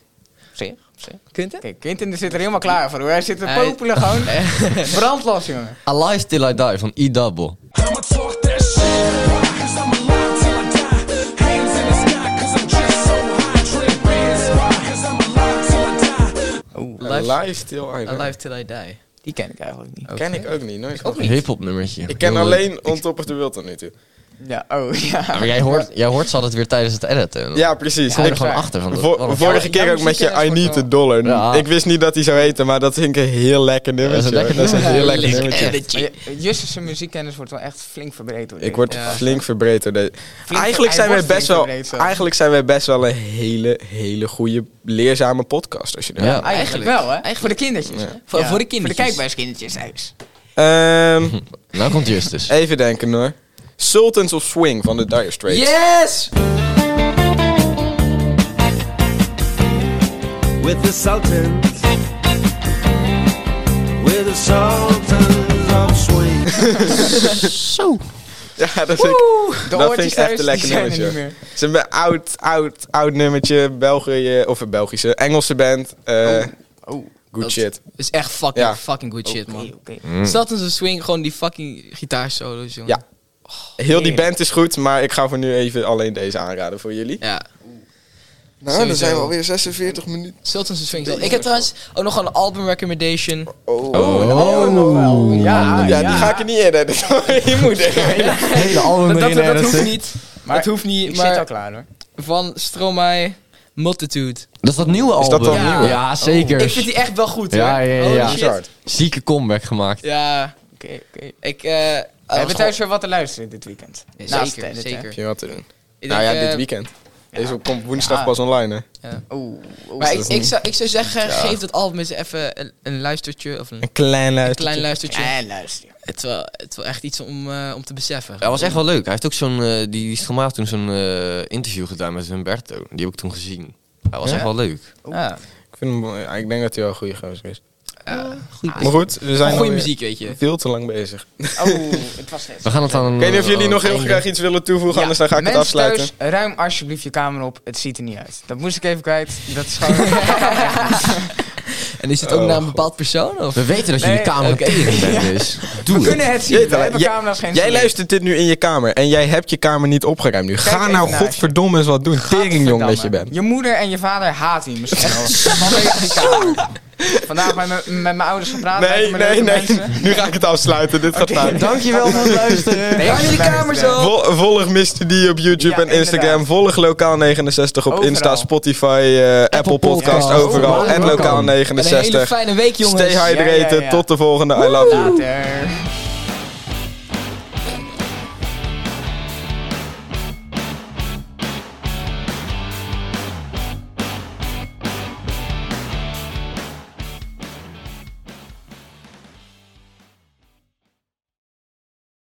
Op zich, op zich. Kunt het? Kijk, Quinten zit er helemaal klaar voor. hoor. Hij zit te Hij- popelen gewoon. Brandlos, jongen. Alive Till I Die van E-Double. I'ma talk that shit, why? Cause I'm alive till I die. Hands in the sky, cause I'm just so high. Drink beers, why? Cause I'm alive till I die. Live, Live Till I Die. Alive Till I Die. Die ken ik eigenlijk Oh. niet. Ken ik ook niet, nooit. Een hip-hop nummertje. Ik ken Heel leuk. alleen On Top of the World tot nu toe. Ja, oh Ja, ja. maar jij hoort, jij hoort ze altijd weer tijdens het editen. Ja, precies. Kom je Ik- er gewoon Ja, achter van. dat- Vo- wat een- vorige Ja, keer jouw ook met muziekkennis je I Need wordt wel- a Dollar. Ja. Ik wist niet dat hij zou heten, maar dat vind ik een heel lekker nummertje. Dat is een lekker hoor. Dat is een heel nummer. lekker Lekker nummertje. Maar je- Justus' muziekkennis wordt wel echt flink verbreed. Hoor. Ik word Ja. flink verbreed door deze. Flink- Eigenlijk hij zijn, wij wordt best flink wel, verbreed, zo. eigenlijk zijn wij best wel een hele, hele goede, leerzame podcast. Als je dat Ja. Eigenlijk wel, hè? Voor de kindertjes. hè? Voor- voor de Voor de kindertjes. kijkbuiskindertjes thuis. Ehm, Nou komt Justus. even denken hoor. Sultans of Swing van de Dire Straits. Yes! With the Sultans. With the Sultans of Swing. Oh. Ja, dat vind ik, De dat vind oortjes ik echt thuis, een lekker die zijn er nummertje. niet hoor. meer. Het is een be- oud, oud, oud nummertje. België, of een Belgische, Engelse band. eh, Oh, good Dat- shit. is echt fucking, Ja. fucking good shit, oké, Mm. man. oké. Zat in zijn swing gewoon die fucking gitaarsolo's, jongen. Ja. Heel die heerlijk. band is goed, maar ik ga voor nu even alleen deze aanraden voor jullie. Ja. Nou, Sowieso. zijn we alweer 46 minuten. Sultans of Swing. is wel- Ik heb trouwens ook nog wel een album recommendation. Oh, Oh, ja, Ja, die ga ik er niet in editen. Je moet er. hele album Dat, dat, dat hoeft niet. Maar dat hoeft niet, Ik maar zit al klaar hoor. van Stromae, Multitude. Dat is dat Oh. nieuwe Is album. dat dat Ja. nieuwe? Ja, zeker. Ik vind die echt wel goed, Ja, hoor. ja, ja, Holy ja. shit. Bizar. Zieke comeback gemaakt. Ja, Oké, oké. ik... eh, We was hebben gewoon- thuis weer wat te luisteren dit weekend. Naast Zeker, tennis, hè. zeker. Heb je wat te doen? Ik nou denk, ja, dit eh, weekend. Deze komt woensdag Ja. pas online, hè? Oeh, oeh. dat Maar ik, is ik, niet- zou, ik zou zeggen, geef dat album eens even een, een luistertje. Of een, Een klein een luister. klein luistertje. Ja, luister. Het, is wel, het is wel echt iets om, eh, om te beseffen. Dat was echt wel leuk. Hij heeft ook zo'n... eh, die die Stromae had toen zo'n eh, interview gedaan met Humberto. Die heb ik toen gezien. Dat was echt wel leuk. Ja. Ik, vind hem, ja, ik denk dat hij wel een goede gozer is. Goed. Maar goed, we zijn Goeie alweer muziek, weet je. veel te lang bezig. Mm, Oh, het was net. We gaan het aan... eh, Ik weet niet of jullie nog heel graag iets willen toevoegen, Ja, anders dan ga ik het mensen afsluiten. Thuis, ruim alsjeblieft je kamer op. Het ziet er niet uit. Dat moest ik even kwijt. Dat is gewoon... En is het ook Oh, naar een bepaald persoon? Of? We weten dat jullie Nee, kamer oké. tering bent, dus... Doe We het. kunnen het zien. Jeet, We hè? hebben Jij- camera's geen Jij zin. luistert dit nu in je kamer en jij hebt je kamer niet opgeruimd nu. Ga even nou naast je. godverdomme eens wat doen. Teringjong dat je Gadverdamme. bent. Je moeder en je vader haat je misschien wel. Vanwege die kamer. Vandaag met, mijn- met mijn ouders gepraat. Nee, lijken me nee, leuke nee. mensen. Nu ga ik het afsluiten. Dit gaat fout. Dankjewel voor het luisteren. Nee, Hou jullie kamers op! Vol- volg Mr. D op YouTube Ja, en Instagram. inderdaad. Volg Lokaal 69 op Overal. Insta, Spotify, eh, Apple Podcast, Podcast. overal. Overal. En Lokaal En een En een hele 69. fijne week, jongens. Stay hydrated. Ja, ja, ja. Tot de volgende. I love you. Later.